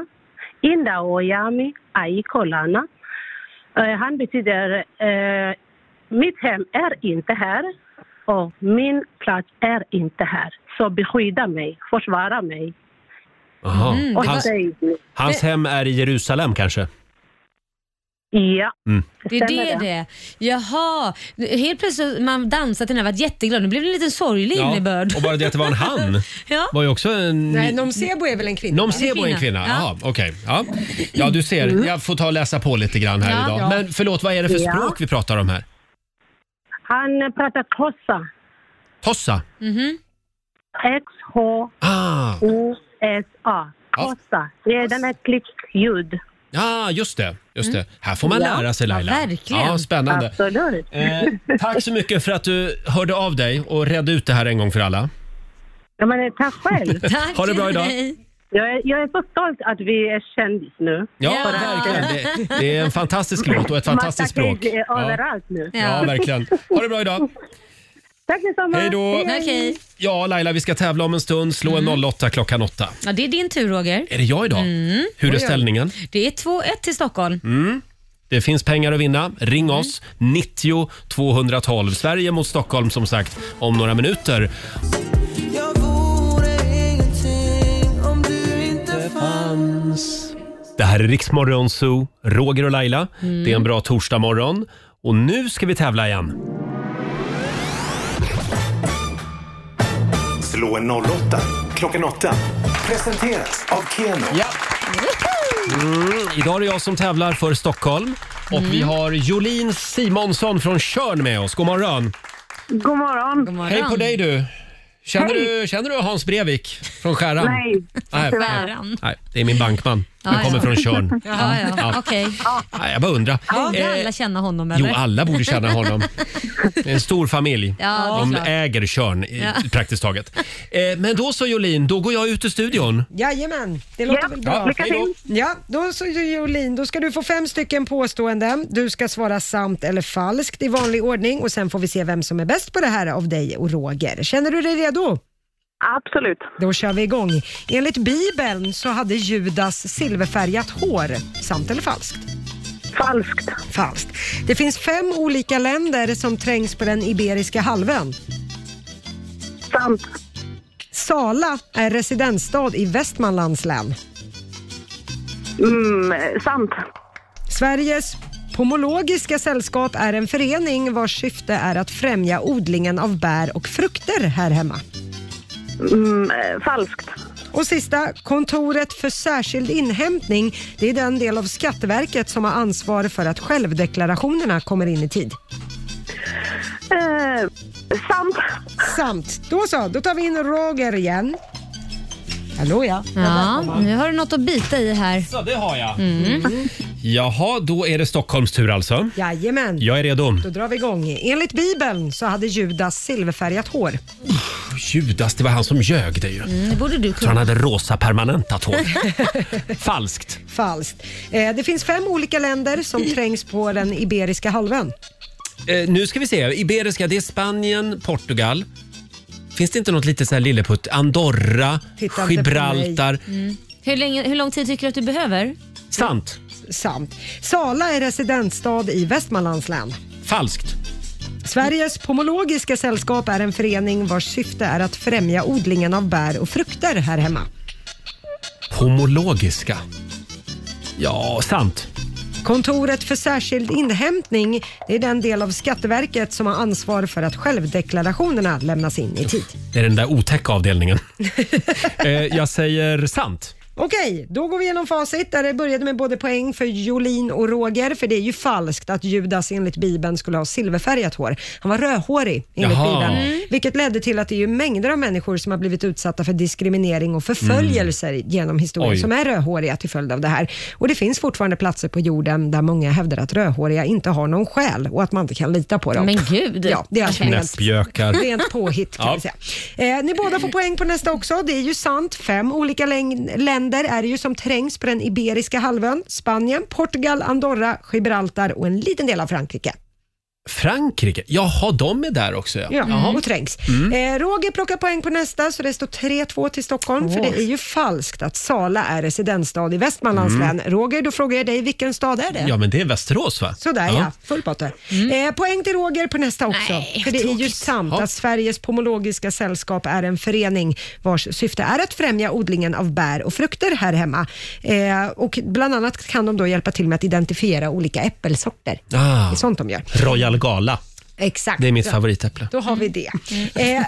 Indaoyami Ali Kolana. Eh, han betyder eh, mitt hem är inte här och min plats är inte här. Så beskydda mig, försvara mig. Jaha. Och Hans, säg- hans hem är i Jerusalem kanske? Ja. Mm. Det är Stämmer det det är. Jaha, helt plötsligt man dansat till den här varit jätteglad. Nu blev det en liten sorglig innebörd. och bara det att det var en han Ja. var ju också en... Nej, Nomsebo är väl en kvinna? Nom Sebo är en kvinna? Jaha, okej. Ja. ja, du ser. Jag får ta och läsa på lite grann här Ja. idag. Ja. Men förlåt, vad är det för Ja. språk vi pratar om här? Han pratar tossa. Tossa? Mhm. Ah, X-H-O-S-A. Tossa. Det är den här klickljud. ah just det. Just det. Här får man Mm. Ja. lära sig Laila. Ja, verkligen. Alltså. Ja, spännande. Absolut. Eh, tack så mycket för att du hörde av dig och redde ut det här en gång för alla. Ja, men, tack själv. Tack. Ha det bra idag. Jag är, jag är så stolt att vi är kändis nu. Ja, För att- verkligen. Det, det är en fantastisk låt och ett fantastiskt Man tackar språk. ju överallt nu. Ja, verkligen. Ha det bra idag. Tack detsamma. Hej då. Ja, Laila, vi ska tävla om en stund. Slå Mm. en 08 klockan 8. Ja, det är din tur Roger. Är det jag idag? Mm. Hur är Oj, oj. ställningen? Det är 2-1 till Stockholm. Mm. Det finns pengar att vinna. Ring oss, Mm. 90 212. Sverige mot Stockholm som sagt om några minuter. Jag vore ingenting om du inte fanns. Det här är Riksmorgon Zoo, Roger och Laila. Mm. Det är en bra torsdagmorgon. Och nu ska vi tävla igen. Slå en 08 klockan 8. Presenteras av Keno. Ja. Mm, idag är det jag som tävlar för Stockholm. Och vi har Jolin Simonsson från Körn med oss. God morgon. God morgon. Hej på dig du. Känner, Hej. du! känner du Hans Brevik från Skäran? Nej, nej, nej, Skäran. nej, det är min bankman. Han kommer från Körn. Ja, ja. Ja. Okej. Nej, jag bara undrar. Borde Eh, alla känna honom eller? Jo, alla borde känna honom. Det är en stor familj. Ja, det är De klart. äger Körn i- Ja. praktiskt taget. Eh, Men då så Jolin, då går jag ut ur studion. Jajamän, det låter Ja, väl bra. lycka till. Hej Ja, då så Jolin, då ska du få fem stycken påståenden. Du ska svara sant eller falskt i vanlig ordning och sen får vi se vem som är bäst på det här av dig och Roger. Känner du dig redo? Absolut. Då kör vi igång. Enligt Bibeln så hade Judas silverfärgat hår. Sant eller falskt? Falskt. Falskt. Det finns fem olika länder som trängs på den iberiska halvön. Sant. Sala är residensstad i Västmanlands län. Mm, sant. Sveriges pomologiska sällskap är en förening vars syfte är att främja odlingen av bär och frukter här hemma. Mm, falskt. Och sista, Kontoret för särskild inhämtning, det är den del av Skatteverket som har ansvar för att självdeklarationerna kommer in i tid. Eh, sant. Sant. Då så, då tar vi in Roger igen. Hallå ja. Ja, nu har du något att bita i här. Så det har jag. Mm. Jaha, då är det Stockholms tur alltså. Jajamän. Jag är redo. Då drar vi igång. Enligt Bibeln så hade Judas silverfärgat hår. Judas, det var han som ljög det ju. Mm, det borde du Så han hade rosa permanenta tår. Falskt. Falskt. Eh, det finns fem olika länder som trängs på den iberiska halvön. Eh, nu ska vi se. Iberiska, det är Spanien, Portugal. Finns det inte något litet så här lilleputt? Andorra, Titta inte på Gibraltar. Mm. Hur, länge, hur lång tid tycker du att du behöver? Sant. Sant. Sala är residensstad i Västmanlands län. Falskt. Sveriges pomologiska sällskap är en förening vars syfte är att främja odlingen av bär och frukter här hemma. Homologiska. Ja, sant. Kontoret för särskild inhämtning det är den del av Skatteverket som har ansvar för att självdeklarationerna lämnas in i tid. Det är den där otäcka avdelningen. eh, jag säger sant. Okej, då går vi igenom facit där det började med både poäng för Jolin och Roger, för det är ju falskt att Judas enligt Bibeln skulle ha silverfärgat hår. Han var rödhårig enligt Jaha. Bibeln, Mm. vilket ledde till att det är ju mängder av människor som har blivit utsatta för diskriminering och förföljelser genom historien Mm. Oj. som är rödhåriga till följd av det här. Och det finns fortfarande platser på jorden där många hävdar att rödhåriga inte har någon själ och att man inte kan lita på dem. Men gud. Ja, det är alltså rent Knäppjökar. Rent påhitt kan Ja. vi säga. Eh, ni båda får poäng på nästa också. Det är ju sant. Fem olika läng- länder är det ju som trängs på den iberiska halvön. Spanien, Portugal, Andorra, Gibraltar och en liten del av Frankrike. Frankrike? Jaha, de är där också ja. Ja, Jaha. och trängs. Mm. Eh, Roger plockar poäng på nästa, så det står 3-2 till Stockholm, för Åh. det är ju falskt att Sala är residensstad i Västmanlands Mm. län. Roger, då frågar jag dig, vilken stad är det? Ja, men det är Västerås va? Sådär ja, full potte. Mm. Eh, poäng till Roger på nästa också. för det är ju sant att Sveriges pomologiska sällskap är en förening vars syfte är att främja odlingen av bär och frukter här hemma. Eh, och bland annat kan de då hjälpa till med att identifiera olika äppelsorter. Det är Ah, sånt de gör. Royal Gala. Exakt. Det är mitt Ja. favoritäpple. Då har vi det. Eh,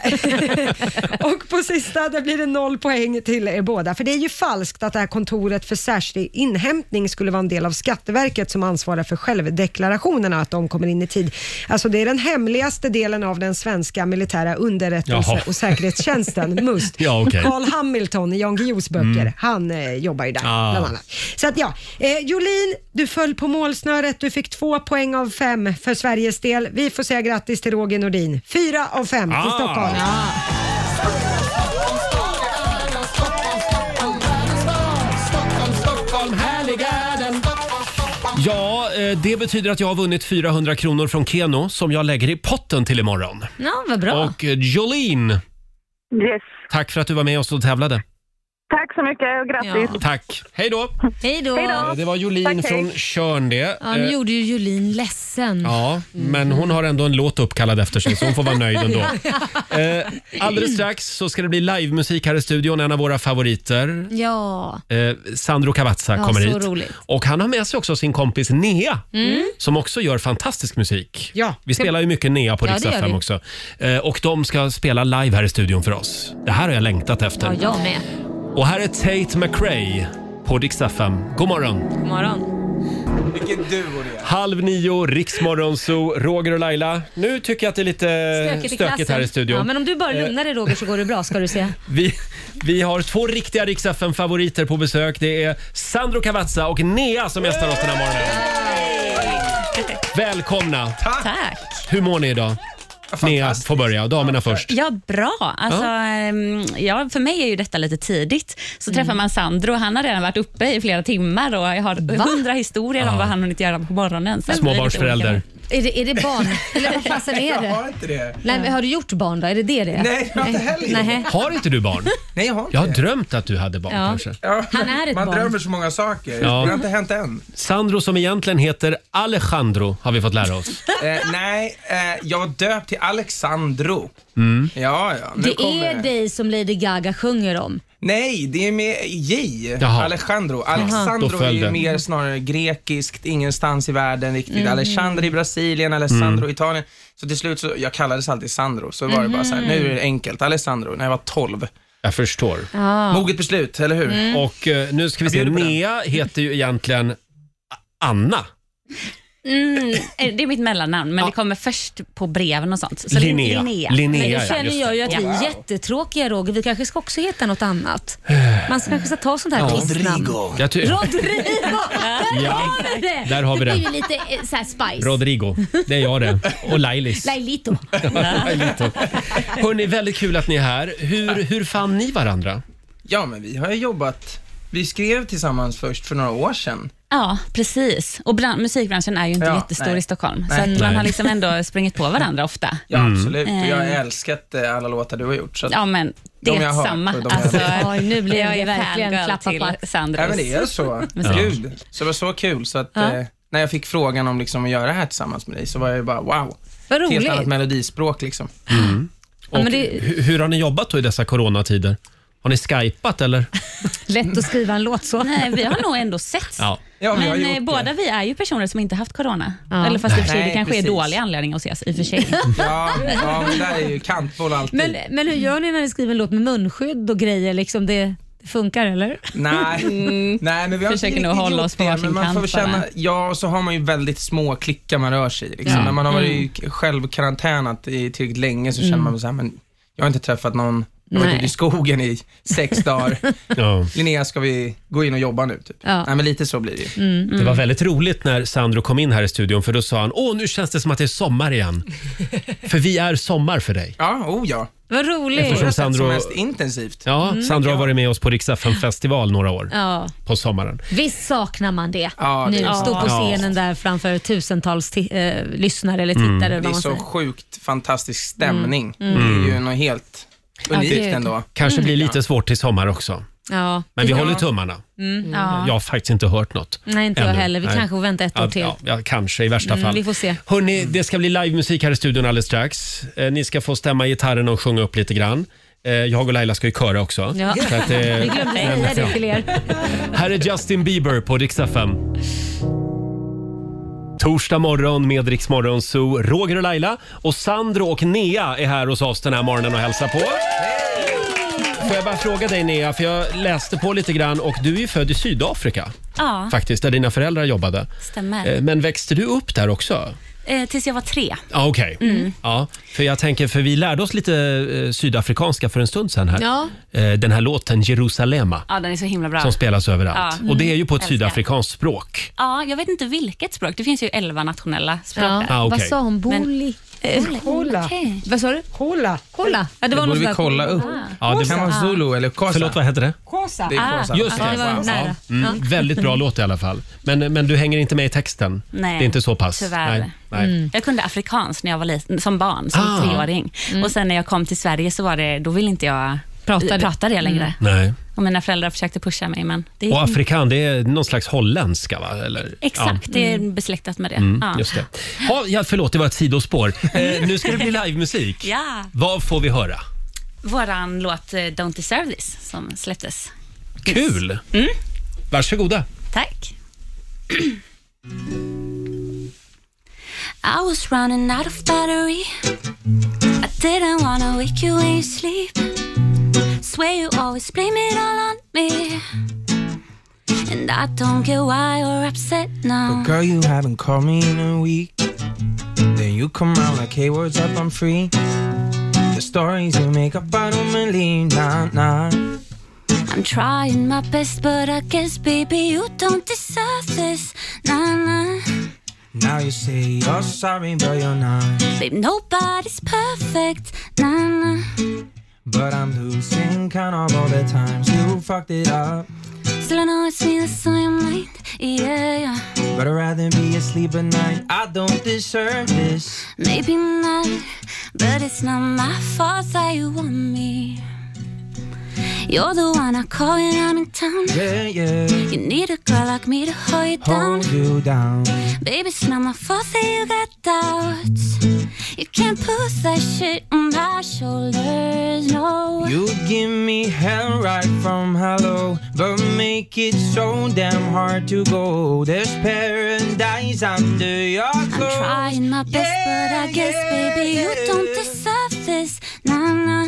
och på sista, där blir det noll poäng till er båda. För det är ju falskt att det här kontoret för särskild inhämtning skulle vara en del av Skatteverket som ansvarar för självdeklarationerna, att de kommer in i tid. Alltså det är den hemligaste delen av den svenska militära underrättelse Jaha. och säkerhetstjänsten, MUST. Ja, okej. Carl Hamilton i Jan Guillous böcker, Mm. han eh, jobbar ju där Ah. bland annat. Så att ja, eh, Jolin, du föll på målsnöret. Du fick två poäng av fem för Sveriges del. Vi får säga grattis till Roger Nordin. Fyra av fem till Ah. Stockholm. Ja, eh, det betyder att jag har vunnit 400 kronor från Keno som jag lägger i potten till imorgon. Ja, vad bra. Och eh, Jolene, Yes. tack för att du var med oss och tävlade. Tack så mycket och grattis. Tack. Hej då. Hej då. Eh, Det var Jolin Tack, hej. från Tjörn det. Ja, nu Eh, gjorde ju Julin ledsen. Ja, men Mm. hon har ändå en låt uppkallad efter sig så hon får vara nöjd ändå. Eh, alldeles strax så ska det bli livemusik här i studion, en av våra favoriter. Ja. Eh, Sandro Cavazza Ja, kommer så hit. roligt. Och han har med sig också sin kompis Nea Mm. som också gör fantastisk musik. Ja. Vi spelar ju mycket Nea på Ja, Rix det gör FM vi. också. Eh, och de ska spela live här i studion för oss. Det här har jag längtat efter. Ja, jag med. Och här är Tate McRae på Rix FM. God morgon! God morgon. Vilken duo det är. Halv nio, Riksmorgon, så Roger och Laila. Nu tycker jag att det är lite stökigt, här i studion. Ja, men om du bara Eh. lugnar dig Roger så går det bra ska du se. Vi, vi har två riktiga Rix favoriter på besök. Det är Sandro Cavazza och Nea som gästar oss den här morgonen. Välkomna! Tack. Hur mår ni idag? Nea får börja, damerna först. Ja, bra. Alltså, ehm, ja, för mig är ju detta lite tidigt. Så träffar Mm. man Sandro, han har redan varit uppe i flera timmar och jag har hundra historier Ja. om vad han hunnit göra på morgonen. Så att vi är lite Småbarnsförälder. Är det, är det barn? Eller vad fasen är det? Jag har inte det. Nej, men har du gjort barn då? Är det det det är? Nej, jag har inte heller gjort Nej. Har inte du barn? Nej, jag har Jag har drömt att du hade barn kanske. Ja, Han är ett man barn. drömmer så många saker. Ja. Det har inte hänt än. Sandro som egentligen heter Alejandro har vi fått lära oss. Eh, nej, eh, jag var döpt till Alexandro. Mm. Ja, ja. Nu Det kommer är dig som Lady Gaga sjunger om. Nej, det är med J. Jaha. Alejandro. Då Alexandro är föll ju den. mer snarare grekiskt, ingenstans i världen riktigt. Mhm. Alexandro i Brasilien, Alessandro Mm. i Italien. Så till slut så, jag kallades alltid Sandro, så var det bara så här, Mhm. nu är det enkelt. Alessandro, när jag var 12. Jag förstår. Ja. Moget beslut, eller hur? Mm. Och eh, nu ska vi se, Nea heter ju egentligen A- Anna. Mm, eh, det är mitt mellannamn, men det kommer först på breven och sånt. Så Linnea. Linnea. Linnea, ja, Nej, jag Då just känner det. jag ju att vi Wow. är jättetråkiga Roger. Vi kanske ska också heta något annat. Man ska kanske ska ta sånt här Eh. Ja. artistnamn. Jag ty- Rodrigo! Där Ja, har vi det! där har vi Det det. är ju lite eh, så här spice. Rodrigo, det är jag det. Och Lailis. Lailito. Lailito. Hörni, väldigt kul att ni är här. Hur, hur fann ni varandra? Ja, men vi har ju jobbat, vi skrev tillsammans först för några år sedan. Ja, precis. Och bran- musikbranschen är ju inte Ja, jättestor nej. i Stockholm, Nej. så att man Nej. har liksom ändå sprungit på varandra ofta. Ja, Mm. absolut. Och jag har Eh. älskat eh, alla låtar du har gjort. Så att Ja, men de det jag har är hört samma. och de jag Alltså, vet. nu blir jag det är verkligen fangirl klappat till plats. Sandros. Nej, men det är så. musik. Gud. Så det var så kul. Så att, Ja. eh, när jag fick frågan om liksom, att göra det här tillsammans med dig så var jag ju bara wow. Vad Helt roligt. annat melodispråk liksom. Mm. Och hu- hur har ni jobbat då i dessa coronatider? Har ni skypat eller? Alltså. Lätt att skriva en låt så. Nej, vi har nog ändå sett. Ja. men eh, båda vi är ju personer som inte haft corona. Ja. Eller fast i och för sig, Nej, det kanske precis. är dålig anledning att ses i och för sig. Ja, ja men där är ju kantboll alltid. Men, men hur gör ni när ni skriver en låt med munskydd och grejer? Liksom det, det funkar eller? Nej, Mm. nej, men vi har Försöker inte nog riktigt hålla gjort oss på det, varsin men man får väl kant bara. känna, Ja, och så har man ju väldigt små klickar man rör sig i. Liksom. Ja. När man har varit Mm. i självkarantänat i tillräckligt länge så känner Mm. man väl så här, men jag har inte träffat någon Jag har varit Nej. ute i skogen i sex dagar. Linnea, ska vi gå in och jobba nu? Typ. Ja. Nej, men lite så blir det ju. Mm, mm. Det var väldigt roligt när Sandro kom in här i studion för då sa han Åh, nu känns det som att det är sommar igen. för vi är sommar för dig. Ja, oh ja. Vad roligt. Eftersom Sandro... Som mest intensivt. Ja, Mm. Sandro har varit med oss på Riksa festival några år Ja. på sommaren. Visst saknar man det? Ja, nu det är stå på sant. scenen där framför tusentals ti- eh, lyssnare eller tittare. Mm. eller vad Det är så man säger. sjukt fantastisk stämning. Mm. Mm. Det är ju något helt Ja, unikt gud. ändå. Kanske blir lite svårt till sommar också. Ja. Men vi Ja. håller tummarna. Mm, ja. Jag har faktiskt inte hört något. Nej, inte jag heller. Vi kanske får vänta ett år Ja, till. Ja, ja, kanske i värsta Mm, fall. vi får se. Mm. Hörrni, det ska bli livemusik här i studion alldeles strax. Eh, ni ska få stämma gitarren och sjunga upp lite grann. Eh, jag och Laila ska ju köra också. Ja. Så att, eh, Vi glömde säga det ja. till er. Här är Justin Bieber på Rix FM. Torsdag morgon med Rix Morgon Zoo. Roger och Laila och Sandro och Nea är här hos oss den här morgonen och hälsar på. Får jag bara fråga dig Nea, för jag läste på lite grann och du är ju född i Sydafrika. Ja, Faktiskt, där dina föräldrar jobbade. stämmer. Eh, Men växte du upp där också? Eh, tills jag var tre. Ja, okej. Mm. Ja, för jag tänker, för vi lärde oss lite eh, sydafrikanska för en stund sedan här. Ja. Eh, Den här låten Jerusalema Ja, den är så himla bra. som spelas överallt. Ja. Och det är ju på ett Älskar. sydafrikanskt språk. Ja, jag vet inte vilket språk. Det finns ju elva nationella språk. där. Ah, okej. Vad sa hon? Boli? Kolla. Eh, Vad sa du? Kolla. Kolla. Ja, Det var något borde vi sånt där- Ah. kolla upp. Ah. Ja, det- det kan vara zulu eller kosa. Förlåt, vad heter det? Ah, Kosa. Det är kosa. Just det. Mm, väldigt bra låt i alla fall. Men, men du hänger inte med i texten? Nej, det är inte så pass? Tyvärr. Mm. Nej. Nej. Jag kunde afrikans när jag var liten, som barn, som Ah. treåring. Och sen när jag kom till Sverige så var det, då ville inte jag Prata prata det. det, längre. Mm. Nej. Och mina föräldrar försökte pusha mig, men det Och afrikan, det är någon slags holländska va? Eller, Exakt, Ja. det är besläktat med det. Mm, ja. just det. Ha, ja, förlåt, det var ett sidospår. Eh, nu ska det bli livemusik. Ja, Vad får vi höra? våran låt eh, Don't Deserve This som släpptes. Kul! Mm. Varsågoda. Tack. I was running out of battery. I didn't wanna wake you when you sleep. Swear you always blame it all on me. And I don't get why you're upset now. But girl, you haven't called me in a week. Then you come out like, hey, words up, I'm free. The stories you make about them and leave, nah, nah. I'm trying my best, but I guess, baby, you don't deserve this. Nah, nah. Now you say you're sorry, but you're not. Babe, nobody's perfect. Nah, nah. But I'm losing count of all the times you fucked it up. Still, I know it's me that's on your mind. Yeah, yeah. But I'd rather be asleep at night. I don't deserve this. Maybe not, but it's not my fault that you want me. You're the one I call when I'm in town. Yeah, yeah. You need a girl like me to hold you down. Hold you down. Baby, it's not my fault that you got doubts. You can't put that shit on my shoulders, no. You give me hell right from hello, but make it so damn hard to go. There's paradise under your I'm clothes. trying my best, but I guess, baby, you don't deserve this. Nah, nah.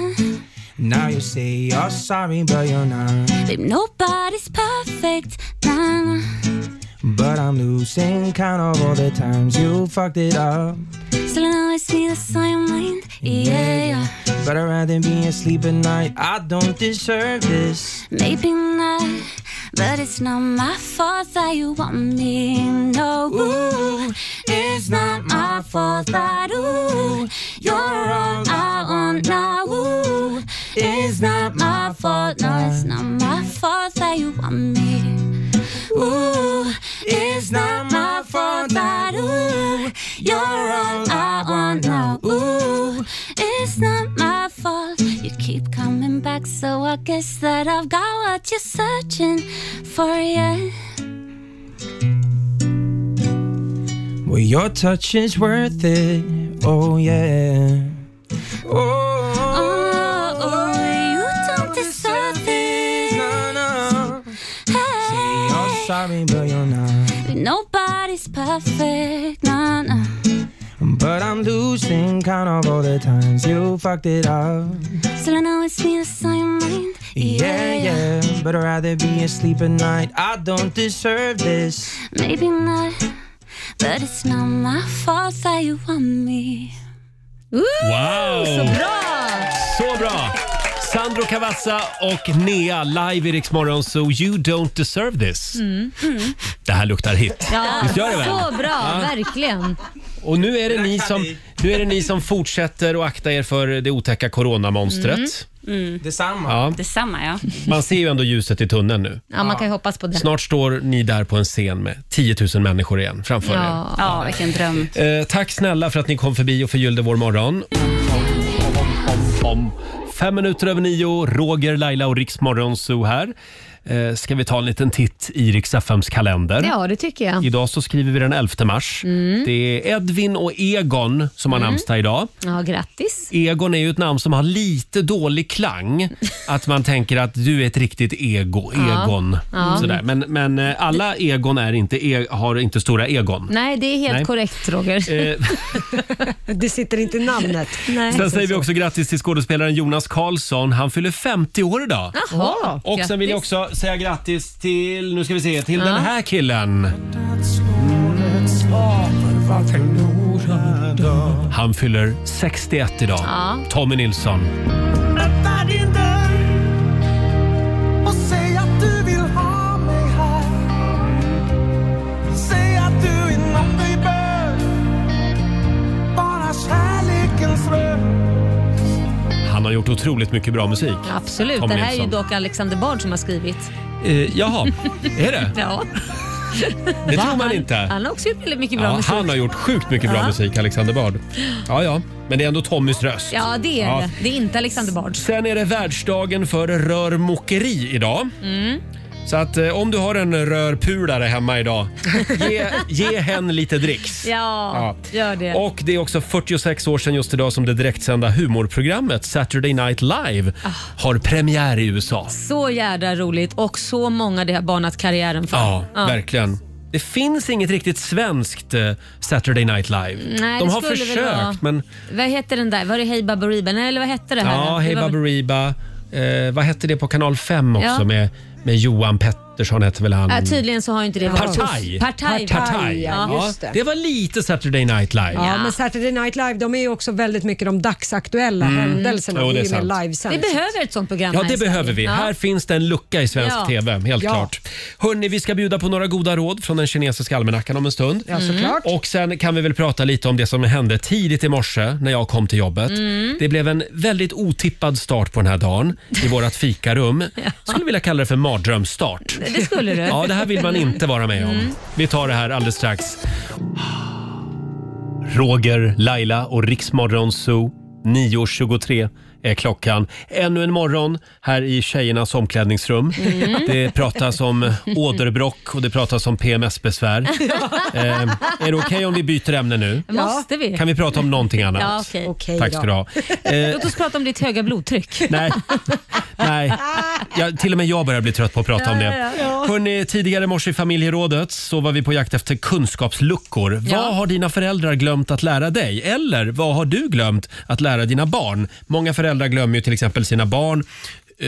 Now you say you're sorry, but you're not. Babe, nobody's perfect. Nah, nah. But I'm losing count of all the times you fucked it up. Still, I know it's me that's on your mind. Yeah, yeah. But I'd rather be asleep at night. I don't deserve this. Maybe not, but it's not my fault that you want me. No, ooh, it's not my fault that ooh, you're all I want now. Ooh, it's not my fault. No, it's not my fault that you want me. Ooh, it's not my fault that ooh, you're all I want now. Ooh, it's not my fault. You keep coming back, so I guess that I've got what you're searching for, yeah. Well, your touch is worth it. Oh, yeah. Oh, oh, you don't deserve this. Hey, You're sorry, but you're not. nobody's perfect, nah, nah. But I'm losing count of all the times you fucked it up. Still, I know it's me that's on your mind. Yeah, yeah. But I'd rather be asleep at night. I don't deserve this. Maybe not, but it's not my fault that you want me. Wow! Så bra! Så bra! Sandro Cavazza och Nea live i Rix Morgon, so you don't deserve this. Mm. Det här luktar hit. Ja, Visst gör det väl? så bra, Ja. verkligen. Och nu är, det ni som, nu är det ni som fortsätter att akta er för det otäcka coronamonstret. Mm. Detsamma. Ja. Detsamma ja. Man ser ju ändå ljuset i tunneln nu. Ja, man kan ju hoppas på det. Snart står ni där på en scen med 10 000 människor igen framför Ja. ja, vilken dröm. er. Eh, tack snälla för att ni kom förbi och förgyllde vår morgon. Om fem minuter över nio, Roger, Laila och Riks Morgonzoo här. Eh, ska vi ta en liten titt i Riks FMs kalender? Ja, det tycker jag. Idag så skriver vi den 11 mars. Mm. Det är Edvin och Egon som har Mm. namnsdag idag. Ja, grattis. Egon är ju ett namn som har lite dålig klang. Att man tänker att du är ett riktigt ego, Ja. Egon. Ja. Sådär. Men, men eh, alla Egon är inte, e- har inte stora Egon. Eh, Nej, det är helt Nej. korrekt Roger. det sitter inte i namnet. Nej. Sen säger vi också grattis till skådespelaren Jonas Karlsson. Han fyller 50 år idag. Jaha, Och sen vill jag grattis. också säga grattis till, nu ska vi se, till Ja. den här killen. Han fyller 61 idag. Ja. Tommy Nilsson. Öppna din dörr och säg att du vill ha mig här. Säg att du är något vi bör. Bara kärlekens röst. Han har gjort otroligt mycket bra musik. Absolut, Tom det här är ju Nilsson. dock Alexander Bard som har skrivit. Eh, jaha, är det? Ja. Det Va? tror man inte. Han, han har också gjort väldigt mycket bra Ja, musik. han har gjort sjukt mycket bra Ja. musik, Alexander Bard. Ja, ja. Men det är ändå Tommys röst. Ja, det är Ja. det. Det är inte Alexander Bard. Sen är det världsdagen för rörmokeri idag. Mm. Så att eh, om du har en rörpulare hemma idag, ge, ge hen lite dricks. Ja, gör det. Och det är också 46 år sedan just idag som det direktsända humorprogrammet Saturday Night Live Ah. har premiär i USA. Så jädra roligt och så många det har banat karriären för. Ja, verkligen. Det finns inget riktigt svenskt eh, Saturday Night Live. Nej, De det har skulle väl vara- försökt, men Vad heter den där? Var det Hey Baberiba? Nej, eller vad hette det här? Ja, Det Hey var väl- Baberiba. Eh, vad hette det på kanal 5 också Ja. med, med Johan Pettersson hette väl han? Ja, tydligen så har inte det varit Partaj. Partaj. Partaj. Ja. Ja, just det. det var lite Saturday Night Live. Ja, men Saturday Night Live de är ju också väldigt mycket de dagsaktuella Mm. händelserna. Jo, det är ju mer sant. livesänt. Vi behöver ett sånt program Ja, här i det Sverige. behöver vi. Ja. Här finns det en lucka i svensk Ja. TV, helt Ja. klart. Hörni, vi ska bjuda på några goda råd från den kinesiska almanackan om en stund. Ja, såklart. Och sen kan vi väl prata lite om det som hände tidigt i morse när jag kom till jobbet. Mm. Det blev en väldigt otippad start på den här dagen i vårt fikarum. Skulle vilja kalla det för mardrömsstart. Det skulle du. Ja, det här vill man inte vara med om. Mm. Vi tar det här alldeles strax. Roger, Laila och Riksmorgon Zoo. 9.23 är klockan. Ännu en morgon här i tjejernas omklädningsrum. Mm. Det pratas om åderbråck och det pratas om PMS-besvär. Eh, är det okej om vi byter ämne nu? Måste vi? Kan vi prata om någonting annat? Ja, okej. Tack ska du ha. Eh, Låt oss prata om ditt höga blodtryck. Nej. Nej, jag, till och med jag börjar bli trött på att prata om det. Ja, ja, ja. Hörrni, tidigare i morse i familjerådet så var vi på jakt efter kunskapsluckor. Vad har dina föräldrar glömt att lära dig? Eller vad har du glömt att lära dina barn? Många föräldrar glömmer ju till exempel sina barn eh,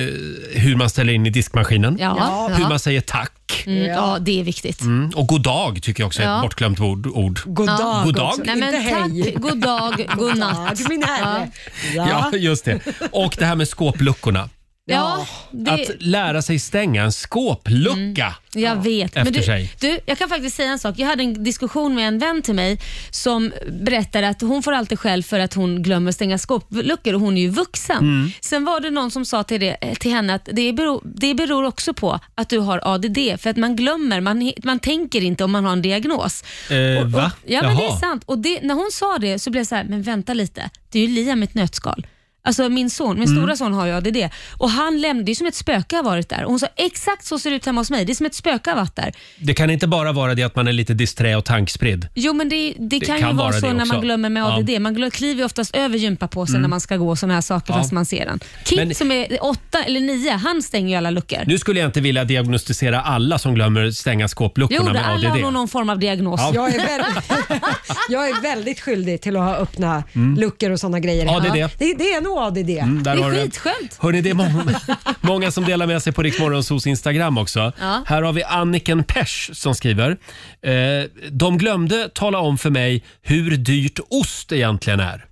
hur man ställer in i diskmaskinen, Ja. hur Ja. man säger tack. Mm, ja, det är viktigt. Mm. Och god dag tycker jag också är ett Ja. bortglömt ord. ord. Ja. God dag. Nej, men Inte tack, hej. god dag, god natt. dag, min herre. Ja, just det. Och det här med skåpluckorna. Ja, Att det, Mm. lära sig stänga en skåplucka. jag vet. Men Efter du, sig. du, jag kan faktiskt säga en sak. Jag hade en diskussion med en vän till mig som berättade att hon får alltid skäll för att hon glömmer stänga skåpluckor och hon är ju vuxen. Mm. Sen var det någon som sa till, det, till henne att det beror, det beror också på att du har ADD för att man glömmer, man, man tänker inte om man har en diagnos. Eh, va? Ja, men det är Jaha. sant. Och det, när hon sa det så blev jag så här, men vänta lite, det är ju Liam i ett nötskal. Alltså min son, min Mm. stora son har ju ADD och han lämnade, det är som ett spöke har varit där. Och hon sa exakt så ser det ut hemma hos mig, det är som ett spöke har varit där. Det kan inte bara vara det att man är lite disträ och tankspridd. Jo men det, det, kan, ju vara, det så när också. man glömmer med ADD. Ja. Man glö- kliver ju oftast över gympapåsen Mm. när man ska gå och sådana här saker Ja. fast man ser den. Kit Men- som är åtta eller nio, han stänger ju alla luckor. Nu skulle jag inte vilja diagnostisera alla som glömmer stänga skåpluckorna Jo, det- med alla ADD. har nog någon form av diagnos. Ja. Jag är, väldigt, jag är väldigt skyldig till att ha öppna Mm. luckor och sådana grejer. hemma. ADD. Det, det är nog ADD. Mm, där Det är har du det. skitskönt. Hörni, det är många, många som delar med sig på Riksmorgonsos Instagram också. Ja. Här har vi Anniken Pers som skriver. Eh, Mm. de glömde tala om för mig hur dyrt ost egentligen är.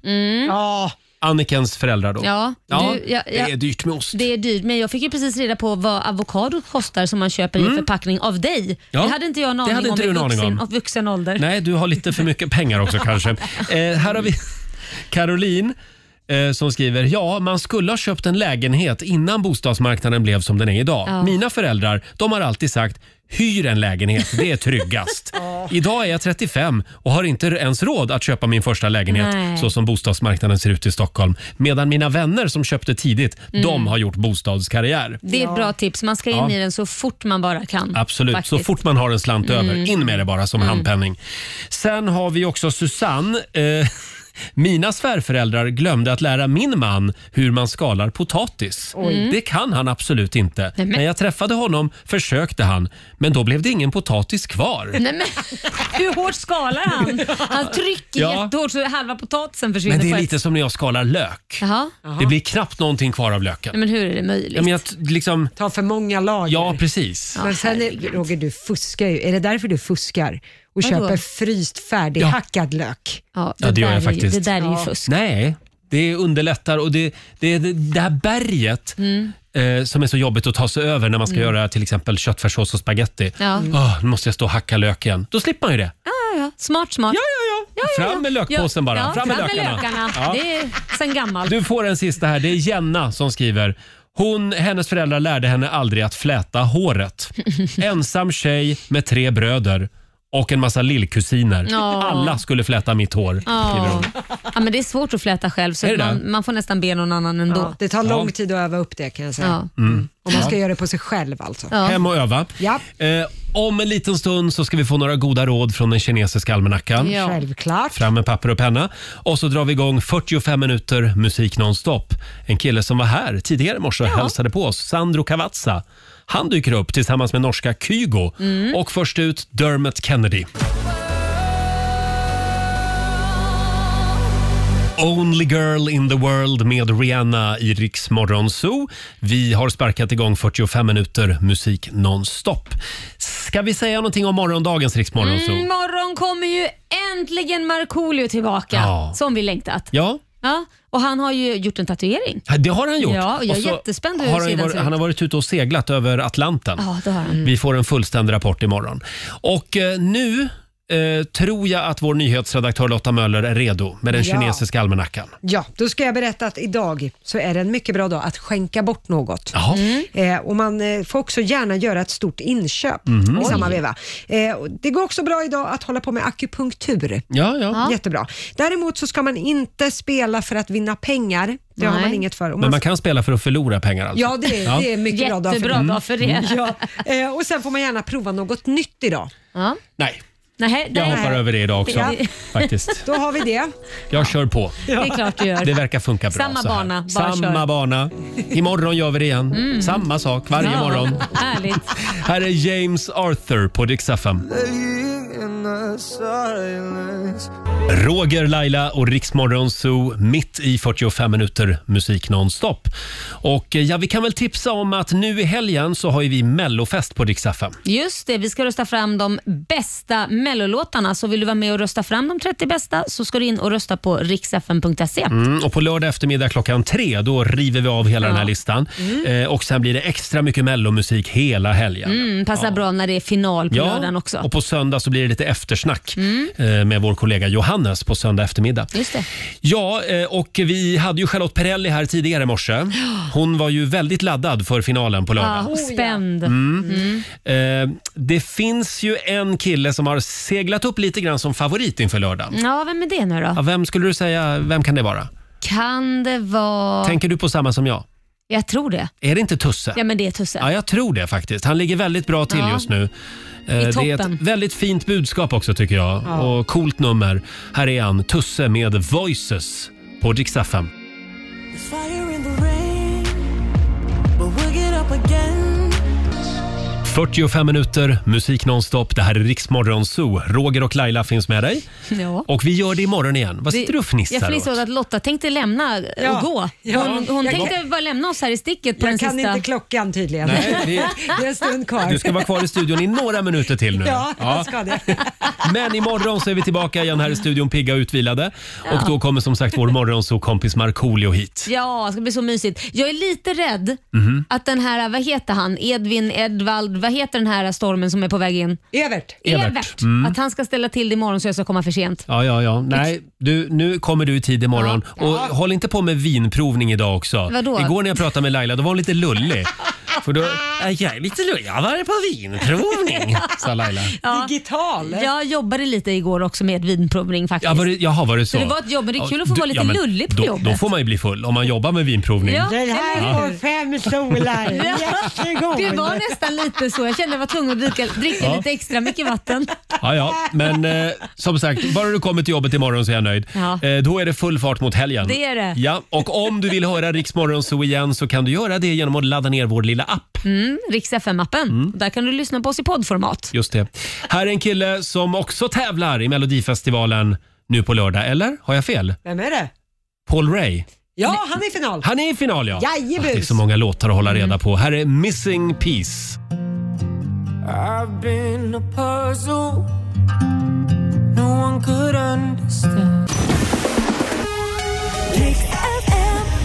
Ja, Annikens föräldrar då. Ja, du- ja, ja. Det är dyrt med ost. Det är dyrt, men jag fick ju precis reda på vad avokado kostar som man köper i Mm. förpackning av dig. Ja. Det hade inte jag en Det aning hade om inte i du en aning vuxen, om. av vuxen ålder. Nej, du har lite för mycket pengar också kanske. Eh, här har vi Caroline eh, som skriver, ja man skulle ha köpt en lägenhet innan bostadsmarknaden blev som den är idag. Ja. Mina föräldrar, de har alltid sagt Hyr en lägenhet, det är tryggast. Idag är jag 35 och har inte ens råd att köpa min första lägenhet Nej. så som bostadsmarknaden ser ut i Stockholm. Medan mina vänner som köpte tidigt, Mm. de har gjort bostadskarriär. Det är ett bra tips. Man ska in Ja. i den så fort man bara kan. Absolut, så Mm. faktiskt. fort man har en slant Mm. över. In med det bara som Mm. handpenning. Sen har vi också Susanne. Eh, mina svärföräldrar glömde att lära min man hur man skalar potatis. Oj. Mm. Det kan han absolut inte. men- När jag träffade honom försökte han, men då blev det ingen potatis kvar. Nej, men, hur hårt skalar han? Han trycker Ja. jättehårt så halva potatisen försvinner. Men det är på ett- lite som när jag skalar lök. Jaha. Det blir knappt någonting kvar av löken. Nej, men hur är det möjligt? Ja, men jag t- liksom... Ta för många lager. Ja, precis. Men sen, är, Roger, du fuskar ju. Är det därför du fuskar och Vadå? köper fryst färdighackad lök? Ja, Ja, det gör jag faktiskt. Ja. Nej, det underlättar och det, det, det, det här berget Mm. eh, som är så jobbigt att ta sig över när man ska Mm. göra till exempel köttfärssås och spaghetti. Ja. Mm. Åh, nu måste jag stå och hacka lök igen. Då slipper man ju det. Ja, ja. Smart, smart. Ja, ja, ja. Fram med lökpåsen bara. Ja, fram med lökarna. Ja. Det är sen gammalt. Du får en sista här. Det är Jenna som skriver. Hon, hennes föräldrar lärde henne aldrig att fläta håret. Ensam tjej med tre bröder och en massa lillkusiner. Ja. Alla skulle fläta mitt hår, skriver Ja. hon. ja, men det är svårt att fläta själv så Är det det? man, man får nästan be någon annan ändå. Ja, det tar lång tid att öva upp det kan jag säga. Ja. Mm. Och man ska Ja. göra det på sig själv alltså. Hem och öva. Ja. Eh, om en liten stund så ska vi få några goda råd från den kinesiska almanackan. Ja. Självklart. Fram med papper och penna. Och så drar vi igång 45 minuter musik nonstop. En kille som var här tidigare i morse och hälsade på oss, Sandro Cavazza. Han dyker upp tillsammans med norska Kygo Mm. och först ut Dermot Kennedy. Only girl in the world med Rihanna i Rix Morgon Zoo. Vi har sparkat igång 45 minuter musik nonstop. Ska vi säga någonting om morgondagens Rix Morgon Zoo? Mm, Imorgon kommer ju äntligen Markoolio tillbaka, Ja. som vi längtat. Ja, Ja, och han har ju gjort en tatuering. det har han gjort. Ja, och jag Och är så jättespänd hur har han, ju sidan varit, ser ut. han har varit ute och seglat över Atlanten. Ja, det har han. Vi får en fullständig rapport imorgon. Och eh, nu eh, tror jag att vår nyhetsredaktör Lotta Möller är redo med den Ja. kinesiska almanackan. Ja, då ska jag berätta att idag så är det en mycket bra dag att skänka bort något. Jaha. Eh, och man eh, får också gärna göra ett stort inköp Mhm. i samma Oj. veva. Eh, och det går också bra idag att hålla på med akupunktur. Ja, ja. Jättebra. Däremot så ska man inte spela för att vinna pengar. Det har man inget för. Och Men man kan spela för att förlora pengar alltså? Ja, det är, Det är en mycket bra dag för Jättebra dag för det. Mm. Ja. Eh, och sen får man gärna prova något nytt idag. Ja. Nej, Nej, jag hoppar över det idag också. Ja. Faktiskt. Då har vi det. Jag kör på. Det är klart du gör. Det verkar funka bra Samma så här. bana, bara Samma kör. bana. Imorgon gör vi det igen. Mm. Samma sak varje Ja, morgon. Härligt. Här är James Arthur på Dix FM. Roger, Laila och Riksmorgon Zoo mitt i 45 minuter musik nonstop. Och eh, ja, vi kan väl tipsa om att nu i helgen så har ju vi mellofest på Dix FM. Just det, vi ska rösta fram de bästa mellolåtarna. Så vill du vara med och rösta fram de 30 bästa så ska du in och rösta på riksfn.se. Mm, och på lördag eftermiddag klockan tre, då river vi av hela Ja. den här listan. Mm. Eh, och sen blir det extra mycket mellomusik hela helgen. Mm, passar bra när det är final Mm, på lördagen också. och på söndag så blir det lite eftersnack Mm. eh, med vår kollega Johannes på söndag eftermiddag. Just det. Ja, eh, och vi hade ju Charlotte Perrelli här tidigare i morse. Hon var ju väldigt laddad för finalen på lördag. Ja, spänd. Ah, Mm. Mm. Eh, det finns ju en kille som har seglat upp lite grann som favorit inför lördagen. Mm, Ja, vem är det nu då? Ja, vem skulle du säga, vem kan det vara? Kan det vara... Tänker du på samma som jag? Jag tror det. Är det inte Tusse? Ja, men det är Tusse. Ja, jag tror det faktiskt. Han ligger väldigt bra till Ja. just nu. Eh, Det är toppen. ett väldigt fint budskap också tycker jag. Ja. Och coolt nummer. Här är han, Tusse med Voices på Dix FM. There's fire in the rain, but we'll get up again. 45 minuter, musik nonstop. Det här är Riksmorgon Zoo. Roger och Laila finns med dig. Ja. Och vi gör det imorgon igen. Vad sitter du och Jag fnissar fnissar åt? åt att Lotta tänkte lämna Ja. och gå. Ja. Hon, hon Jag tänkte bara lämna oss här i sticket på Jag den kan sista. inte klockan tydligen. Nej, det... det- är en stund kvar. Du ska vara kvar i studion i några minuter till nu. Ja, jag ska det. Men imorgon så är vi tillbaka igen här i studion pigga och utvilade. Ja. Och då kommer som sagt vår morgonsokompis Markoolio hit. Ja, det ska bli så mysigt. Jag är lite rädd Mhm. att den här, vad heter han, Edvin, Edvald, vad heter den här stormen som är på väg in? Evert. Evert. Evert. Mm. Att han ska ställa till det imorgon så jag ska komma för sent. Ja, ja, ja. Nej, du, nu kommer du i tid imorgon. Och håll inte på med vinprovning idag också. Vadå? Igår när jag pratade med Laila, då var hon lite lullig. För då, "Ja, jag är lite lullig. Jag har varit på vinprovning, sa Laila. Digital. Jag jobbade lite igår också med ett vinprovning faktiskt. Ja, var det, jaha, var det så? Så det var ett jobb, men det är kul att få du- vara lite men lullig på då, jobbet. Då får man ju bli full om man jobbar med vinprovning. Ja, Den här eller har hur? fem solar. Jättegod. Det var nästan lite så. Jag kände att jag var tvungen att dricka, dricka Ja. lite extra mycket vatten. Ja, ja. Men eh, som sagt, bara du kommer till jobbet imorgon så är jag nöjd. Ja. Eh, då är det full fart mot helgen. Det är det. Ja, och om du vill höra Riksmorgon så igen så kan du göra det genom att ladda ner vår lilla app. Mm, Rix FM-appen. Mm. Där kan du lyssna på oss i poddformat. Just det. Här är en kille som också tävlar i Melodifestivalen nu på lördag, eller? Har jag fel? Vem är det? Paul Ray. Ja, han är i final. Han är i final ja. Jajebus. Det är så många låtar att hålla reda på. Här är Missing Piece. I've been a puzzle no one could understand.